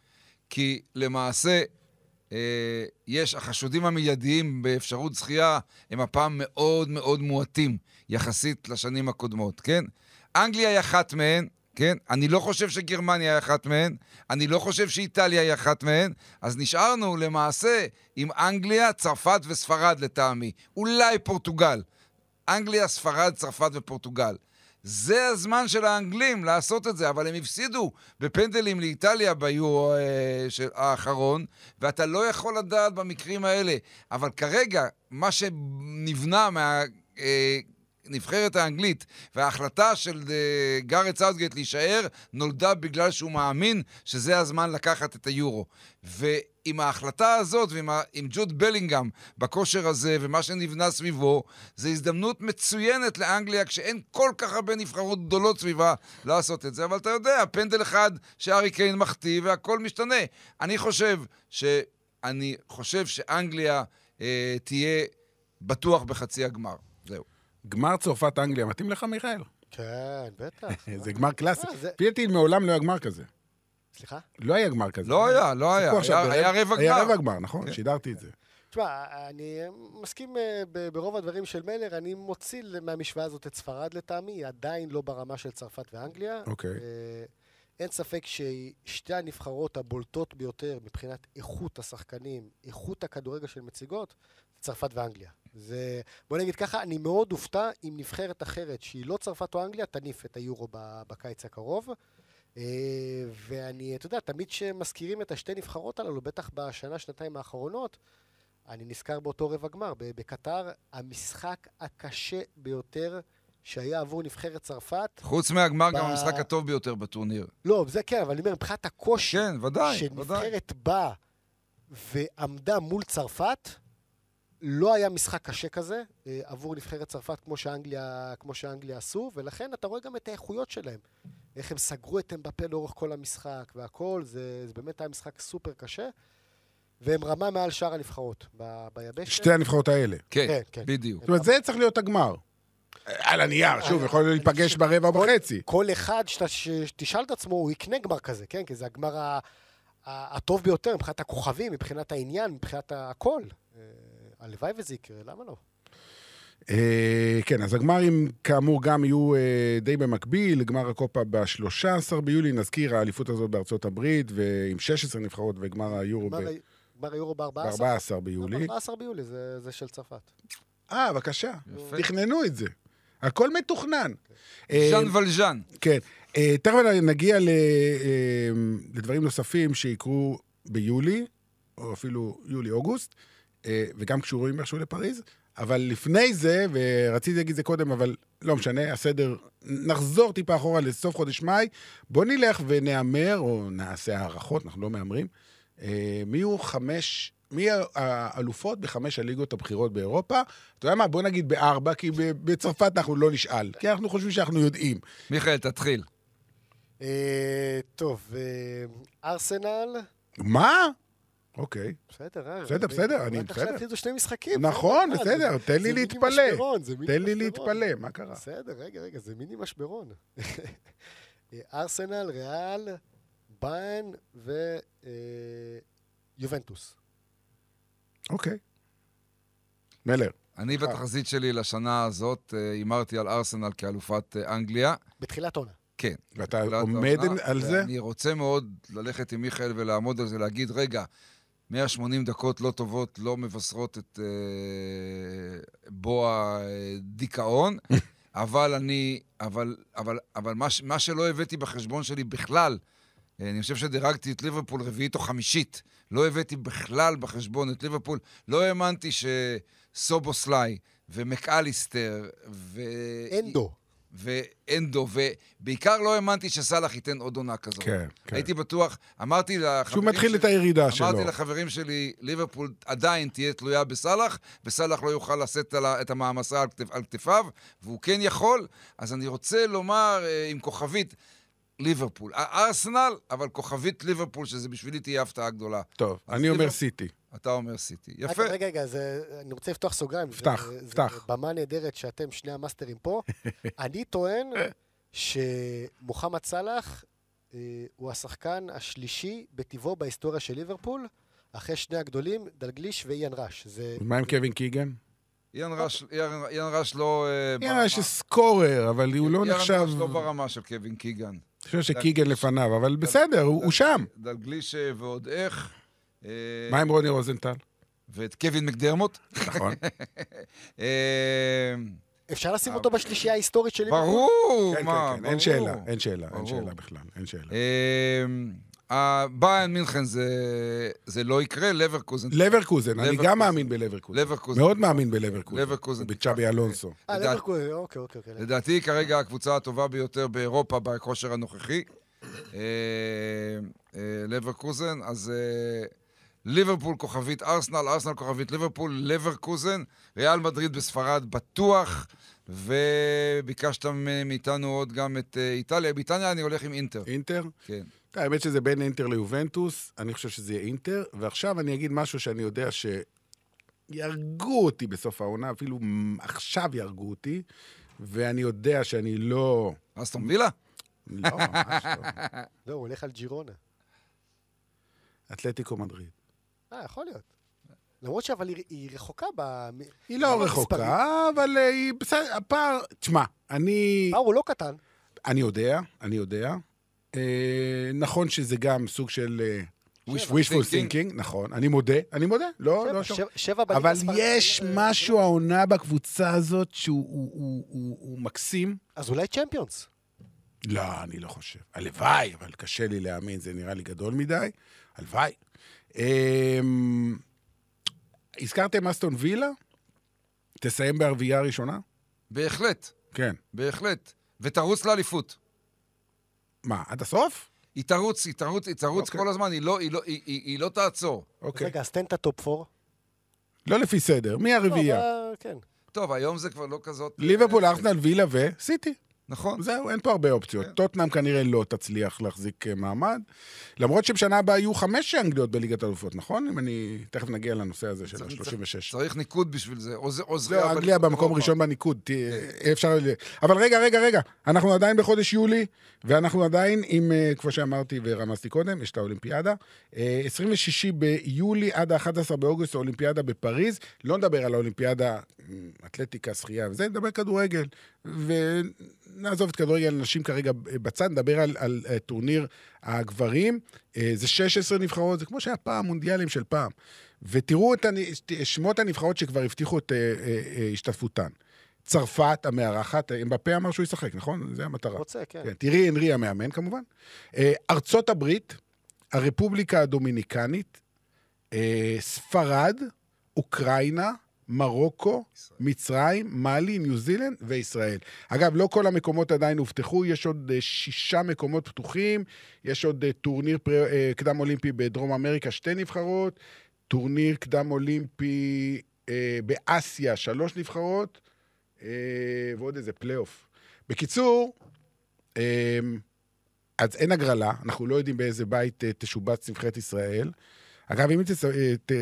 כי למעשה אה, יש, החשודים המיידיים באפשרות זכייה הם הפעם מאוד מאוד מועטים יחסית לשנים הקודמות, כן? אנגליה היא אחת מהן. כן? אני לא חושב שגרמניה היא אחת מהן, אני לא חושב שאיטליה היא אחת מהן, אז נשארנו למעשה עם אנגליה, צרפת וספרד לטעמי. אולי פורטוגל. אנגליה, ספרד, צרפת ופורטוגל. זה הזמן של האנגלים לעשות את זה, אבל הם הפסידו בפנדלים לאיטליה ביורו אה, של- האחרון, ואתה לא יכול לדעת במקרים האלה. אבל כרגע, מה שנבנה מה... אה, הנבחרת האנגלית וההחלטה של אה, גארד סאוטגייט להישאר נולדה בגלל שהוא מאמין שזה הזמן לקחת את היורו. ועם ההחלטה הזאת ועם ה- עם ג'וד בלינגהם בכושר הזה ומה שנבנה סביבו, זו הזדמנות מצוינת לאנגליה כשאין כל כך הרבה נבחרות גדולות סביבה לעשות את זה. אבל אתה יודע, פנדל אחד שהארי קיין מחטיא והכל משתנה. אני חושב ש... אני חושב שאנגליה אה, תהיה בטוח בחצי הגמר. זהו. גמר צרפת-אנגליה, מתאים לך, מיכאל? כן, בטח. זה גמר קלאסי. אה, זה- לפי דעתי, מעולם לא היה גמר כזה. סליחה? לא היה גמר כזה. לא היה, לא היה. סיפרו עכשיו היה- ברבע- היה רבע היה גמר. כן. רבע גמר, נכון, שידרתי את זה. תשמע, אני מסכים אה, ב- ברוב הדברים של מלר, אני מוציא ל- מהמשוואה הזאת את ספרד לטעמי, היא עדיין לא ברמה של צרפת ואנגליה. אוקיי. אה, אין ספק שהיא שתי הנבחרות הבולטות ביותר מבחינת איכות השחקנים, איכות הכדורגל שהן מציגות, זה צרפת ואנגליה. זה, בוא נגיד ככה, אני מאוד אופתע אם נבחרת אחרת שהיא לא צרפת או אנגליה, תניף את היורו ב- בקיץ הקרוב. אה, ואני, אתה יודע, תמיד כשמזכירים את השתי נבחרות הללו, בטח בשנה, שנתיים האחרונות, אני נזכר באותו רבע גמר, ב- בקטר, המשחק הקשה ביותר שהיה עבור נבחרת צרפת. חוץ מהגמר, ב- גם המשחק הטוב ביותר בטורניר. לא, זה כן, אבל אני אומר, מבחינת הקושי, כן, ודאי, ודאי. שנבחרת באה ועמדה מול צרפת, לא היה משחק קשה כזה אה, עבור נבחרת צרפת כמו שאנגליה, כמו שאנגליה עשו, ולכן אתה רואה גם את האיכויות שלהם. איך הם סגרו את אמבפה לאורך כל המשחק והכל, זה, זה באמת היה משחק סופר קשה, והם רמה מעל שאר הנבחרות ב- ביבשת. שתי הנבחרות האלה. כן, כן, כן. בדיוק. זאת אומרת, זה צריך להיות הגמר. על הנייר, שוב, אה, יכול אני להיפגש חושב- ברבע כל- וחצי. כל אחד שאתה- שתשאל את עצמו, הוא יקנה גמר כזה, כן? כי זה הגמר ה- ה- הטוב ביותר מבחינת הכוכבים, מבחינת העניין, מבחינת הכל. אה, הלוואי וזה יקרה, למה לא? אה, כן, אז הגמרים כאמור גם יהיו אה, די במקביל, גמר הקופה ב-13 ביולי, נזכיר, האליפות הזאת בארצות הברית, ועם 16 נבחרות, וגמר היורו גמר לא, ה- גמר היורו ב-14? ב-14 ביולי. 14 ביולי, זה זה של צרפת. לא. אה, בבקשה, יפה. תכננו את זה. הכל מתוכנן. אה, ז'אן ולז'אן. כן. אה, תכף נגיע ל- אה, לדברים נוספים שיקרו ביולי, או אפילו יולי-אוגוסט, אה, וגם קשורים איכשהו לפריז, אבל לפני זה, ורציתי להגיד זה קודם, אבל לא משנה, הסדר, נחזור טיפה אחורה לסוף חודש מאי, בוא נלך ונהמר, או נעשה הערכות, אנחנו לא מהמרים, אה, מי הוא חמש... מי האלופות בחמש הליגות הבכירות באירופה? אתה יודע מה? בוא נגיד בארבע, כי ב- בצרפת אנחנו לא נשאל, כי אנחנו חושבים שאנחנו יודעים. מיכאל, תתחיל. אה, טוב, אה, ארסנל, מה? אוקיי. בסדר, אה? בסדר, בסדר, אני- רק עכשיו בסדר. הפסידו שני משחקים. נכון, בסדר, בסדר, אה, תן לי זה מיני להתפלא. משברון, זה מיני תן לי משברון. להתפלא, מה אה. קרה? בסדר, רגע, רגע, זה מיני משברון. אה, ארסנל, ריאל, ביין אה, ויובנטוס. אוקיי. מלר. אני בתחזית שלי לשנה הזאת, אה, הימרתי על ארסנל כאלופת אה, אנגליה. בתחילת עונה. כן. ואתה בתחילת עומד העונה, על זה? לא, אה, אני רוצה מאוד ללכת עם מיכאל ולעמוד על זה, להגיד, רגע, 180 דקות לא טובות לא מבשרות את אה, בוא הדיכאון, אבל אני, אבל, אבל, אבל מה, ש- מה שלא הבאתי בחשבון שלי בכלל, אה, אני חושב שדירגתי את ליברפול רביעית או חמישית. לא הבאתי בכלל בחשבון את ליברפול. לא האמנתי שסובוסליי ומקאליסטר ו... אנדו. ואנדו, ובעיקר לא האמנתי שסאלח ייתן עוד עונה כזאת. כן, כן. לא. הייתי בטוח, אמרתי לחברים... שהוא מתחיל שלי- את הירידה שלו. אמרתי לחברים שלי, ליברפול עדיין תהיה תלויה בסאלח, וסאלח לא יוכל לשאת על ה- את המעמסה על, כתפ, על כתפיו, והוא כן יכול, אז אני רוצה לומר אה, עם כוכבית, ליברפול. א- ארסנל, אבל כוכבית ליברפול, שזה בשבילי תהיה הפתעה גדולה. טוב, אז לא- אני אומר ליבר- סיטי. אתה אומר סיטי. יפה. רגע, רגע, רגע, זה, אני רוצה לפתוח סוגריים. זה- פתח, זה, פתח. זה במה נהדרת שאתם שני המאסטרים פה. אני טוען שמוחמד סאלח אה, הוא השחקן השלישי בטיבו בהיסטוריה של ליברפול, אחרי שני הגדולים, דלגליש ואיאן ראש. זה... מה עם קווין קיגן? איאן ראש- איאן איאן ראש לא... אה, ברמה. יאללה, יש סקורר, אבל הוא לא איאן ראש נחשב... לא ברמה של קווין קיגן. אני חושב שקיגן לפניו, אבל בסדר, הוא הוא שם. דלגליש אה, ועוד איך. אה, מה עם רוני רוזנטל? ואת קווין מקדרמוט. נכון. אה, אפשר לשים אותו בשלישייה ההיסטורית של ליברפול? ברור, כן, מה, כן, כן, ברור. אין שאלה, אין שאלה, אין ברור. שאלה בכלל, אין שאלה. אה, ה- ביירן מינכן זה- זה לא יקרה, לברקוזן. לברקוזן, אני לברקוזן. גם מאמין בלברקוזן. לברקוזן. מאוד מאמין בלברקוזן. לברקוזן. בצ'אבי אלונסו. אה, לדעת- ליברפול, אוקיי, אוקיי, אוקיי. לדעתי היא כרגע הקבוצה הטובה ביותר באירופה בכושר הנוכחי. אה, אה, לברקוזן, אז אה, ליברפול כוכבית ארסנל, ארסנל כוכבית ליברפול, לברקוזן, ריאל מדריד בספרד בטוח, וביקשת מ- מאיתנו עוד גם את אה, איטליה. באיטליה אני הולך עם אינטר. אינטר? כן. האמת שזה בין אינטר ליובנטוס, אני חושב שזה יהיה אינטר, ועכשיו אני אגיד משהו שאני יודע שיהרגו אותי בסוף העונה, אפילו עכשיו יהרגו אותי, ואני יודע שאני לא... אסטון וילה? לא, ממש לא. לא, הוא הולך על ג'ירונה. אתלטיקו מדריד. אה, יכול להיות. למרות שאבל היא- היא רחוקה ב... היא לא רחוקה, אבל אה, היא בסדר, הפער... תשמע, אני... אה, הוא לא קטן. אני יודע, אני יודע. אה, נכון שזה גם סוג של אה, Wishful wishful thinking. thinking, נכון, אני מודה, אני מודה, לא, שבע- לא שום. שבע- שבע בליגה אבל הספרדית, יש אה, משהו העונה בקבוצה הזאת שהוא הוא- הוא- הוא- הוא מקסים. אז אולי צ'מפיונס. לא, אני לא חושב. הלוואי, אבל קשה לי להאמין, זה נראה לי גדול מדי. הלוואי. אמ, הזכרתם אסטון וילה? תסיים בערבייה הראשונה? בהחלט, כן. בהחלט. ותרוץ לאליפות. מה, עד הסוף? היא תרוץ, היא תרוץ, היא תרוץ אוקיי. כל הזמן, היא לא, היא לא, היא, היא, היא לא תעצור. אוקיי. אוקיי. רגע, אז תן את הטופ 4. לא לפי סדר, מי הרביעייה? כן. טוב, היום זה כבר לא כזאת... ליברפול, אה, ארסנל, וילה וסיטי. נכון. זהו, אין פה הרבה אופציות. טוטנאם כנראה לא תצליח להחזיק אה, מעמד, למרות שבשנה הבאה יהיו חמש אנגליות בליגת אלופות, נכון? אם אני... תכף נגיע לנושא הזה של ה-36. צריך ניקוד בשביל זה. או זה- או זכייה לא, אנגליה באליפות במקום אירופה. ראשון בניקוד, תה- אי אפשר... ל- אבל רגע, רגע, רגע, אנחנו עדיין בחודש יולי, ואנחנו עדיין עם, אה, כמו שאמרתי ורמזתי קודם, יש את האולימפיאדה. אה, 26 ביולי עד ה-11 באוגוסט, האולימפיאדה בפריז. לא נדבר על האולימפיאדה, אה, אתלטיקה, שחייה וזה, נדבר כדורגל. ונעזוב את כדורגל הנשים כרגע אה, בצד, נדבר על, על אה, טורניר הגברים. אה, זה 16 נבחרות, זה כמו שהיה פעם, מונדיאלים של פעם. ותראו את הנ... את שמות הנבחרות שכבר הבטיחו את אה, אה, אה, השתתפותן. צרפת המארחת, אמבפה אמר שהוא ישחק, נכון? זה המטרה. רוצה, כן. כן, תראי הנרי המאמן כמובן. אה, ארצות הברית, הרפובליקה הדומיניקנית, אה, ספרד, אוקראינה, מרוקו, מצרים, מאלי, ניו זילנד וישראל. אגב, לא כל המקומות עדיין הובטחו, יש עוד אה, שישה מקומות פתוחים, יש עוד אה, טורניר פר... אה, קדם אולימפי בדרום אמריקה, שתי נבחרות, טורניר קדם אולימפי אה, באסיה, שלוש נבחרות, אה, ועוד איזה פלייאוף. בקיצור, אמ, אז אין הגרלה, אנחנו לא יודעים באיזה בית אה, תשובץ נבחרת ישראל. אגב, אם תס... אה, ת...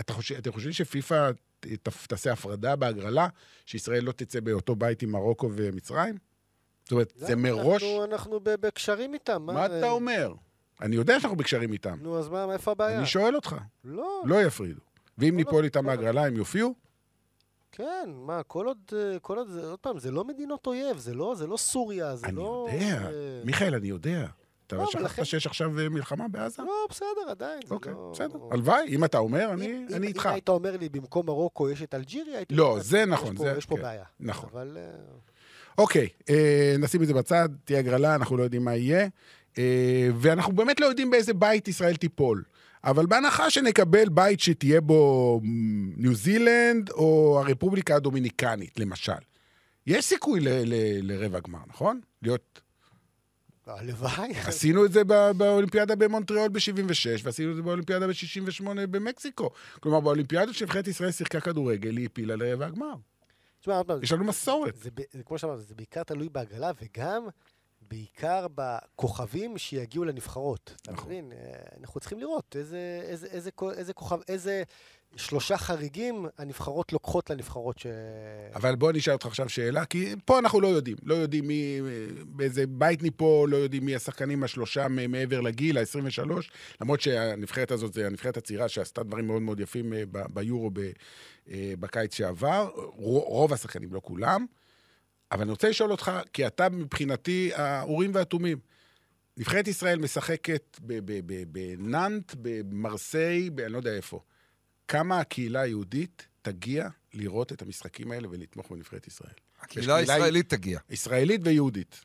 אתה חושב, אתם חושבים שפיפ"א ת- ת- תעשה הפרדה בהגרלה, שישראל לא תצא באותו בית עם מרוקו ומצרים? זאת אומרת, זה למה? מראש? לא, אנחנו- אנחנו ב- בקשרים איתם. מה זה- אתה אומר? אני יודע שאנחנו בקשרים איתם. נו, אז מה, איפה הבעיה? אני שואל אותך, לא, לא יפרידו. ואם לא, ניפול לא, איתם לא. בהגרלה, הם יופיעו? כן, מה, כל עוד, אה, כל עוד, זה- עוד פעם, זה לא מדינות אויב, זה לא זה לא סוריה, זה אני לא... יודע, אה, מיכאל, אני יודע. אתה לא, אבל שכחת לכן- שיש עכשיו אה, מלחמה בעזה? לא, בסדר, עדיין. זה אוקיי, לא- בסדר. הלוואי, אם אתה אומר, אני אם- אני אם- איתך. אם היית אומר לי, במקום מרוקו יש את אלג'יריה, הייתי... לא, אומר, זה יש נכון, פה- זה- יש פה כן, בעיה. נכון. אבל... אה, אוקיי, אה, נשים את זה בצד, תהיה הגרלה, אנחנו לא יודעים מה יהיה, אה, ואנחנו באמת לא יודעים באיזה בית ישראל תיפול. אבל בהנחה שנקבל בית שתהיה בו מ, ניו זילנד או הרפובליקה הדומיניקנית, למשל, יש סיכוי ל- ל- לרבע גמר, נכון? להיות... לא, הלוואי. עשינו את זה ב- באולימפיאדה במונטריאול ב-76, ועשינו את זה באולימפיאדה ב-68 במקסיקו. כלומר, באולימפיאדה שנבחרת ישראל שיחקה כדורגל, היא הפילה לרבע הגמר. תשמע, עוד פעם, יש לנו מסורת. זה, ב- זה כמו שאמרת, זה בעיקר תלוי בהגרלה, וגם בעיקר בכוכבים שיגיעו לנבחרות. אתה נכון. מבין? אה, אנחנו צריכים לראות איזה, איזה, איזה, כו- איזה כוכב, איזה שלושה חריגים הנבחרות לוקחות לנבחרות ש... אבל בוא נשאל אותך עכשיו שאלה, כי פה אנחנו לא יודעים. לא יודעים מי, באיזה בית ניפול, לא יודעים מי השחקנים השלושה מ- מעבר לגיל, ה-23, למרות שהנבחרת הזאת זה הנבחרת הצעירה שעשתה דברים מאוד מאוד יפים אה, ב- ביורו ב- אה, בקיץ שעבר, רו- רוב השחקנים, לא כולם. אבל אני רוצה לשאול אותך, כי אתה מבחינתי האורים והתומים. נבחרת ישראל משחקת ב- ב- ב- בנאנט, במרסיי, ב- אני לא יודע איפה. כמה הקהילה היהודית תגיע לראות את המשחקים האלה ולתמוך בנבחרת ישראל? הקהילה יש קהילה- הישראלית תגיע. ישראלית ויהודית.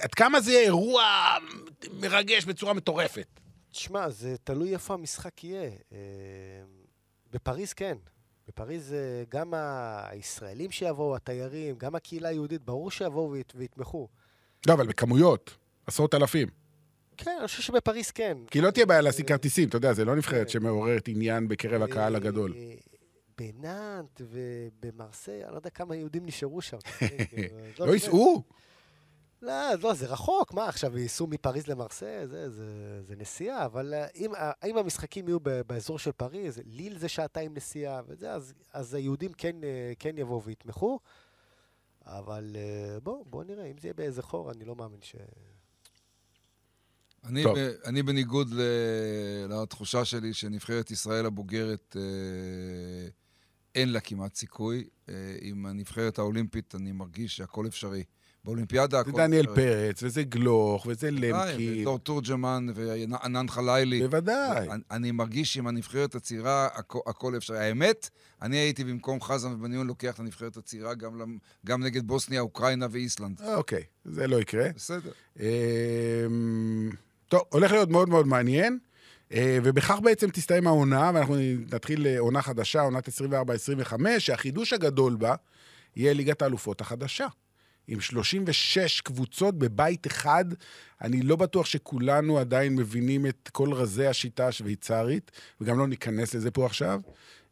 עד כמה זה יהיה אירוע מרגש בצורה מטורפת? תשמע, זה תלוי איפה המשחק יהיה. אה, בפריז כן. בפריז אה, גם הישראלים שיבואו, התיירים, גם הקהילה היהודית, ברור שיבואו וית- ויתמכו. לא, אבל בכמויות, עשרות אלפים. כן, אני חושב שבפריז כן. כי לא תהיה בעיה להשיג אה, כרטיסים, אתה יודע, זה לא נבחרת שמעוררת עניין בקרב הקהל אה, הגדול. אה, בנאנט ובמרסיי, אני לא יודע כמה יהודים נשארו שם. אתה מבין? כאילו, אז לא משנה. ייסעו? לא, לא, זה רחוק, מה עכשיו ייסעו מפריז למרסיי? זה- זה- זה נסיעה, אבל אה, אם ה- אם המשחקים יהיו ב- באזור של פריז, ליל זה שעתיים נסיעה וזה, אז- אז היהודים כן, אה, כן יבואו ויתמכו, אבל אה, בואו, בואו נראה, אם זה יהיה באיזה חור, אני לא מאמין ש... אני, טוב. ב, אני בניגוד ל, לתחושה שלי שנבחרת ישראל הבוגרת, אה, אין לה כמעט סיכוי. אה, עם הנבחרת האולימפית אני מרגיש שהכל אפשרי. באולימפיאדה זה הכל דניאל אפשרי. פרץ, וזה גלוך, וזה די, למקין. ודור תורג'מן וענן חלילי. בוודאי. אני, אני מרגיש שעם הנבחרת הצעירה הכל, הכל אפשרי. האמת, אני הייתי במקום חזן ובניון לוקח את הנבחרת הצעירה גם, למ- גם נגד בוסניה, אוקראינה ואיסלנד. אוקיי, זה לא יקרה. בסדר. אמ, טוב, הולך להיות מאוד מאוד מעניין, אה, ובכך בעצם תסתיים העונה, ואנחנו נתחיל אה, עונה חדשה, עונת 24-25, שהחידוש הגדול בה יהיה ליגת האלופות החדשה. עם 36 קבוצות בבית אחד, אני לא בטוח שכולנו עדיין מבינים את כל רזי השיטה השוויצרית, וגם לא ניכנס לזה פה עכשיו.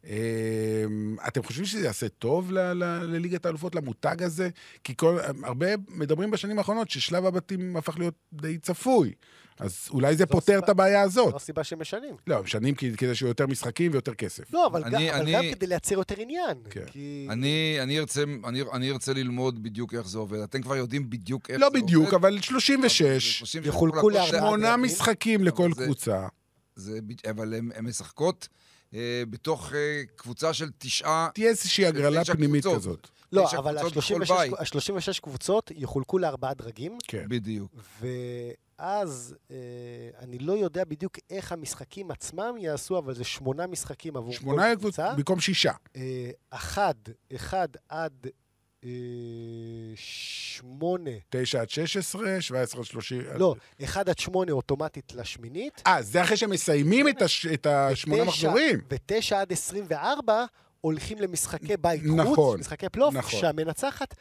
אמ, אתם חושבים שזה יעשה טוב ל- ל- לליגת האלופות, למותג הזה? כי כל, הרבה מדברים בשנים האחרונות ששלב הבתים הפך להיות די צפוי. אז אולי זה זו פותר הסיבה- את הבעיה זו הזאת. הסיבה שהם משנים. לא, משנים כדי כדי שיהיו יותר משחקים ויותר כסף. לא, אבל, אני, גם, אני- אבל אני- גם כדי לייצר יותר עניין. כן. כי... אני, אני, ארצה, אני, אני ארצה ללמוד בדיוק איך זה עובד. אתם כבר יודעים בדיוק איך לא זה עובד. בדיוק, אבל 36, 30 יחולקו יחולקו לארבעה. זה- שמונה אבל- משחקים לכל אבל זה- קבוצה. זה בד- אבל הן משחקות אה, בתוך אה, קבוצה של תשעה... תהיה איזושהי הגרלה תשע פנימית קבוצות. כזאת. לא, תשע אבל קבוצות בכל ה-36 בית. ה-36 קבוצות יחולקו לארבעה דרגים, כן. בדיוק. ואז אה, אני לא יודע בדיוק איך המשחקים עצמם יעשו, אבל זה שמונה משחקים עבור כל שמונה קבוצה. קבוצות במקום שישה. אה, אחד, אחד עד אה, שמונה, תשע עד 16, 17 עד 30. לא, אחד עד שמונה אוטומטית לשמינית. אה, זה אחרי שמסיימים את הש- את השמונה ותשע- מחזורים. ותשע עד עשרים וארבע הולכים למשחקי בית נכון, חוץ, משחקי פלייאוף, נכון. שהמנצחת...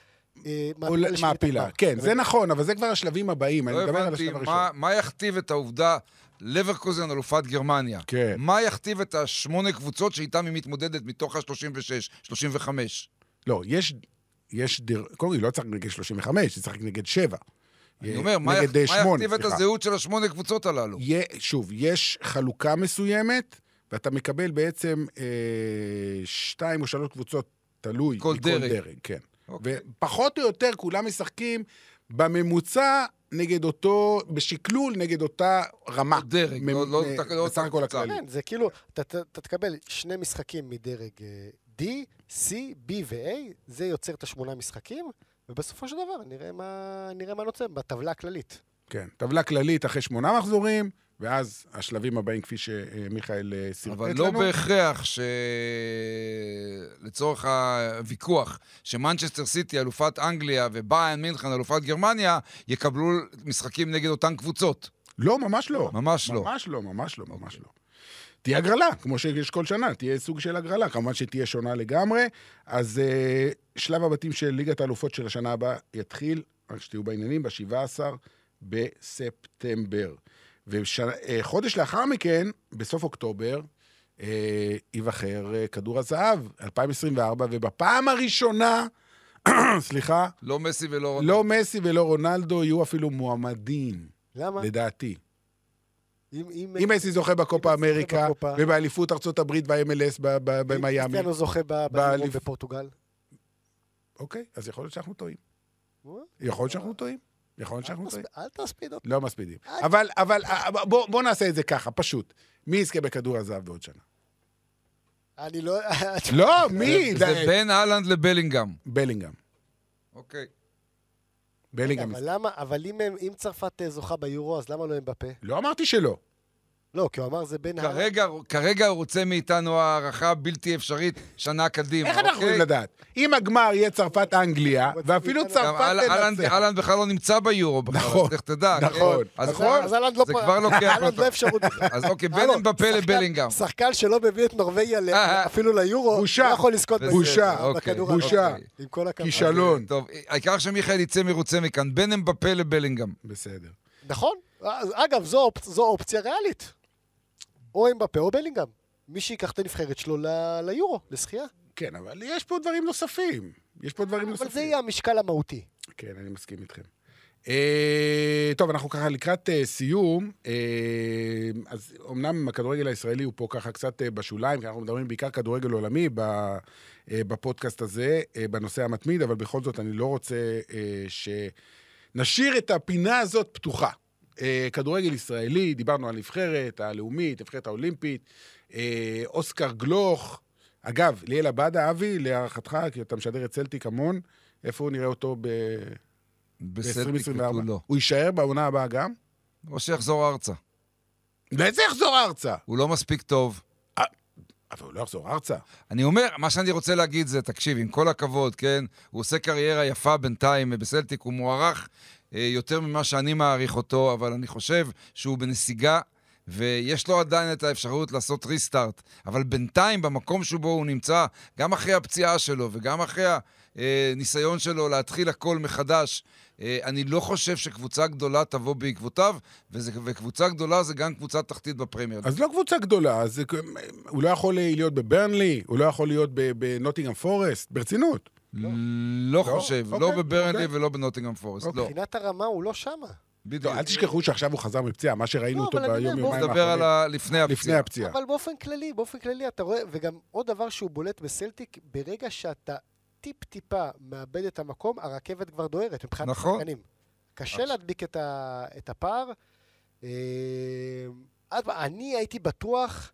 אה, מעפילה עול- לשמינית מעפילה. הגמר. כן, זה נכון, אבל זה כבר השלבים הבאים, אני לא מדבר על הבנתי השלב מה- הראשון. מה יכתיב את העובדה, לברקוזן אלופת גרמניה. כן. מה יכתיב את השמונה קבוצות שאיתן היא מתמודדת מתוך ה-36, 35? לא, יש... יש דיר... קודם כל, היא לא צריך נגד 35, היא צריך נגד 7. אני אומר, מה יכ- נגד אה, מה שמונה, יכתיב את סליחה. הזהות של השמונה קבוצות הללו? יה, שוב, יש חלוקה מסוימת, ואתה מקבל בעצם אה, שתיים או שלוש קבוצות, תלוי. כל מכל דרג. דרג, כן. אוקיי. ופחות או יותר כולם משחקים בממוצע נגד אותו, בשקלול נגד אותה רמה. דרג, לא- לא- אה, לא- לא- בסך הכל קבוצה. הכללי. כן, זה כאילו, אתה- אתה אתה תקבל שני משחקים מדרג אה, D, C, B ו-A, זה יוצר את השמונה משחקים, ובסופו של דבר נראה מה, נראה מה נוצר בטבלה הכללית. כן, טבלה כללית אחרי שמונה מחזורים, ואז השלבים הבאים, כפי שמיכאל אה, שרטט אבל לנו. לא בהכרח ש... לצורך הוויכוח, שמנצ'סטר סיטי אלופת אנגליה וביין מינכן אלופת גרמניה, יקבלו משחקים נגד אותן קבוצות. לא, ממש לא. ממש לא. ממש לא, ממש לא, ממש לא. תהיה הגרלה, כמו שיש כל שנה, תהיה סוג של הגרלה, כמובן שתהיה שונה לגמרי. אז אה, שלב הבתים של ליגת האלופות של השנה הבאה יתחיל, רק שתהיו בעניינים, ב-17 בספטמבר. וחודש לאחר מכן, בסוף אוקטובר, אה, ייבחר אה, כדור הזהב, 2024, ובפעם הראשונה, סליחה, לא מסי ולא רונלדו. לא מסי ולא רונלדו יהיו אפילו מועמדים, למה? לדעתי. אם אם מסי זוכה בקופה אם מסי זוכה אמריקה, בקופה. ובאליפות ארצות הברית ב-MLS ב- ב- במיאמי. קריסטיאנו זוכה ב- באליפ- ביורו בפורטוגל. אוקיי, אז יכול להיות שאנחנו טועים. אוי, יכול להיות שאנחנו טועים. יכול להיות אל שאנחנו תספ- טועים. אל תספיד אותי. לא מספידים. אל- אבל, אבל, אה, בוא בוא נעשה את זה ככה, פשוט. מי יזכה בכדור הזהב בעוד שנה? אני לא... לא, מי? זה די, בין אהלנד לבלינגהם. בלינגהם. אוקיי. בלינגהם. אבל למה, אבל אם הם- אם צרפת אה, זוכה ביורו, אז למה לא הם בפה? לא אמרתי שלא. לא, כי הוא אמר זה נכון. בין... ה- כרגע, כרגע הוא רוצה מאיתנו הערכה בלתי אפשרית שנה קדימה. איך אנחנו אוקיי? יכולים לדעת? אם הגמר יהיה צרפת-אנגליה, ואפילו גם גם צרפת אהל- אהלנד- תנצח. אהלנד בכלל לא נמצא ביורו בכלל, נכון, אז לך תדע. נכון, כן? אז- נכון. אז אהלנד לא... זה פה- כבר לוקח אהלנד אותו. לא אפשרות. אז אוקיי, בין הלו, אמבפה שחקן- לבלינגהם. שחקן שלא מביא את נורבגיה ל- אה, אה. אפילו ליורו, בושה. לא יכול לזכות בסדר, בושה, אוקיי. בכדור בושה. הארוך. עם כל הכבוד. כישלון. טוב, העיקר שמיכאל יצא מרוצה מכאן, בין אמבפה לבלינגהם. בסדר. נכון. אז אגב, זו אופצ- זו אופציה ריאלית. או אמבפה או בלינגהם. מי שייקח את הנבחרת שלו ל- ליורו, לשחייה. כן, אבל יש פה דברים נוספים. יש פה דברים נוספים. אבל זה יהיה המשקל המהותי. כן, אני מסכים איתכם. אה, טוב, אנחנו ככה לקראת אה, סיום, אה, אז אמנם הכדורגל הישראלי הוא פה ככה קצת אה, בשוליים, כי אנחנו מדברים בעיקר כדורגל עולמי ב, אה, בפודקאסט הזה, אה, בנושא המתמיד, אבל בכל זאת אני לא רוצה אה, שנשאיר את הפינה הזאת פתוחה. אה, כדורגל ישראלי, דיברנו על נבחרת הלאומית, נבחרת האולימפית, אה, אוסקר גלוך, אגב, ליאל עבדה, אבי, להערכתך, כי אתה משדר את צלטיק המון, איפה נראה אותו ב... בסלטיק ב-2024? ותו לא. הוא יישאר בעונה הבאה גם? או שיחזור ארצה. לאיזה יחזור ארצה? הוא לא מספיק טוב. אבל הוא לא יחזור ארצה. אני אומר, מה שאני רוצה להגיד זה, תקשיב, עם כל הכבוד, כן? הוא עושה קריירה יפה בינתיים בסלטיק, הוא מוערך אה, יותר ממה שאני מעריך אותו, אבל אני חושב שהוא בנסיגה, ויש לו עדיין את האפשרות לעשות ריסטארט. אבל בינתיים, במקום שבו הוא נמצא, גם אחרי הפציעה שלו וגם אחרי הניסיון שלו להתחיל הכל מחדש, אה, אני לא חושב שקבוצה גדולה תבוא בעקבותיו, וזה, וקבוצה גדולה זה גם קבוצה תחתית בפרמייר. אז לא קבוצה גדולה, אז זה כ- הוא לא יכול אה, להיות בברנלי, הוא לא יכול להיות ב- בנוטינגהם פורסט, ברצינות. לא חושב, לא אוקיי, בברנלי אוקיי. ולא בנוטינגהם פורסט, לא. מבחינת הרמה הוא לא שמה. בדיוק. לא, אל תשכחו שעכשיו הוא חזר מפציעה, מה שראינו לא, אותו אבל אני ביום אומר, יומיים נדבר על האחרונים. ה... לפני לפני הפציעה. הפציעה. אבל באופן כללי, באופן כללי אתה רואה, וגם עוד דבר שהוא בולט בסלטיק, ברגע שאתה טיפ-טיפה מאבד את המקום, הרכבת כבר דוהרת מבחינת נכון. השחקנים. קשה להדביק את, ה, את הפער. אה, עד- אני הייתי בטוח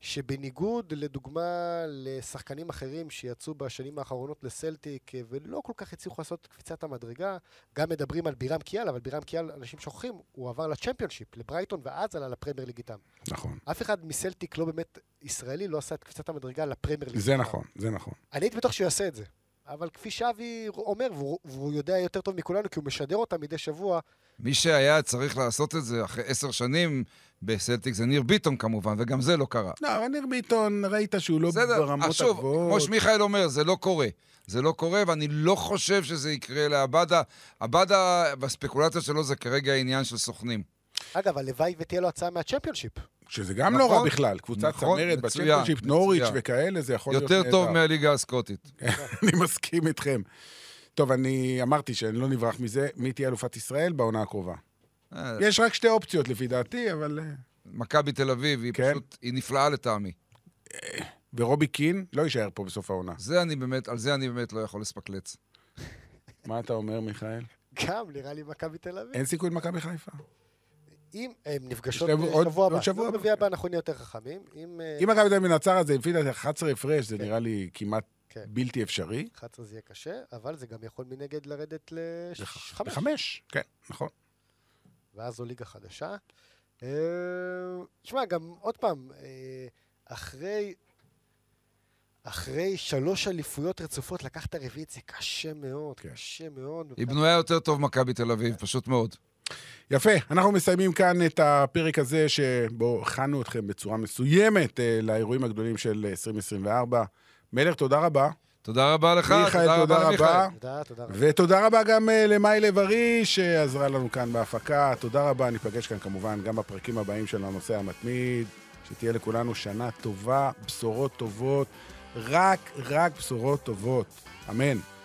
שבניגוד לדוגמה לשחקנים אחרים שיצאו בשנים האחרונות לסלטיק אה, ולא כל כך הצליחו לעשות את קפיצת המדרגה, גם מדברים על בירם קיאל, אבל בירם קיאל, אנשים שוכחים, הוא עבר לצ'מפיונשיפ, לברייטון, ואז עלה לפרמייר ליג איתם. נכון. אף אחד מסלטיק לא באמת ישראלי, לא עשה את קפיצת המדרגה לפרמייר ליג. זה נכון, זה נכון. אני הייתי בטוח שהוא יעשה את זה. אבל כפי שאבי אומר, והוא, והוא יודע יותר טוב מכולנו, כי הוא משדר אותה מדי שבוע, מי שהיה צריך לעשות את זה אחרי עשר שנים בסלטיק זה ניר ביטון כמובן, וגם זה לא קרה. לא, אבל ניר ביטון, ראית שהוא לא בסדר, ברמות אז שוב, כמו הגבוהות. שמיכאל אומר, זה לא קורה. זה לא קורה, ואני לא חושב שזה יקרה לעבדה. עבדה, בספקולציה שלו זה כרגע עניין של סוכנים. אגב, הלוואי ותהיה לו הצעה מהצ'מפיונשיפ. שזה גם לא רע נכון, בכלל, קבוצת נכון, צמרת, מצוין, בצ'מפיונשיפ, נוריץ' מצוין. וכאלה, זה יכול להיות יותר טוב נהדר. מהליגה הסקוטית. אני מסכים איתכם. טוב, אני אמרתי שאני לא נברח מזה, מי תהיה אלופת ישראל בעונה הקרובה? אה, יש רק שתי אופציות לפי דעתי, אבל... אה, מכבי תל אביב, היא כן. פשוט, היא נפלאה לטעמי. ורובי קין לא יישאר פה בסוף העונה. זה אני באמת, על זה אני באמת לא יכול לספקלץ. מה אתה אומר, מיכאל? גם, נראה לי, מכבי תל אביב. אין סיכוי למכבי חיפה. אם הם נפגשות יש להם עוד- בשבוע עוד הבא, שבוע לא הבא. רביעי הבא אנחנו נהיה יותר חכמים. אם... אה, אם מכבי תל אביב מנצחת זה לפי דעתי 11 הפרש, זה נראה לי כמעט כן. בלתי אפשרי. 11 זה יהיה קשה, אבל זה גם יכול מנגד לרדת לח- לחמש. לחמש. כן, נכון. ואז זו ליגה חדשה. אה, תשמע, גם עוד פעם, אה, אחרי, אחרי שלוש אליפויות רצופות לקחת רביעית זה קשה מאוד, כן. קשה מאוד. היא בנויה יותר טוב מכבי תל אביב, פשוט מאוד. יפה, אנחנו מסיימים כאן את הפרק הזה שבו הכנו אתכם בצורה מסוימת אה, לאירועים הגדולים של אה, 2024. מלך, תודה רבה. תודה רבה לך, מיכאל, תודה תודה רבה רבה. למיכאל. תודה, תודה רבה. ותודה רבה גם אה, למאי לב-ארי שעזרה לנו כאן בהפקה. תודה רבה, ניפגש כאן כמובן גם בפרקים הבאים של הנושא המתמיד. שתהיה לכולנו שנה טובה, בשורות טובות, רק רק בשורות טובות. אמן.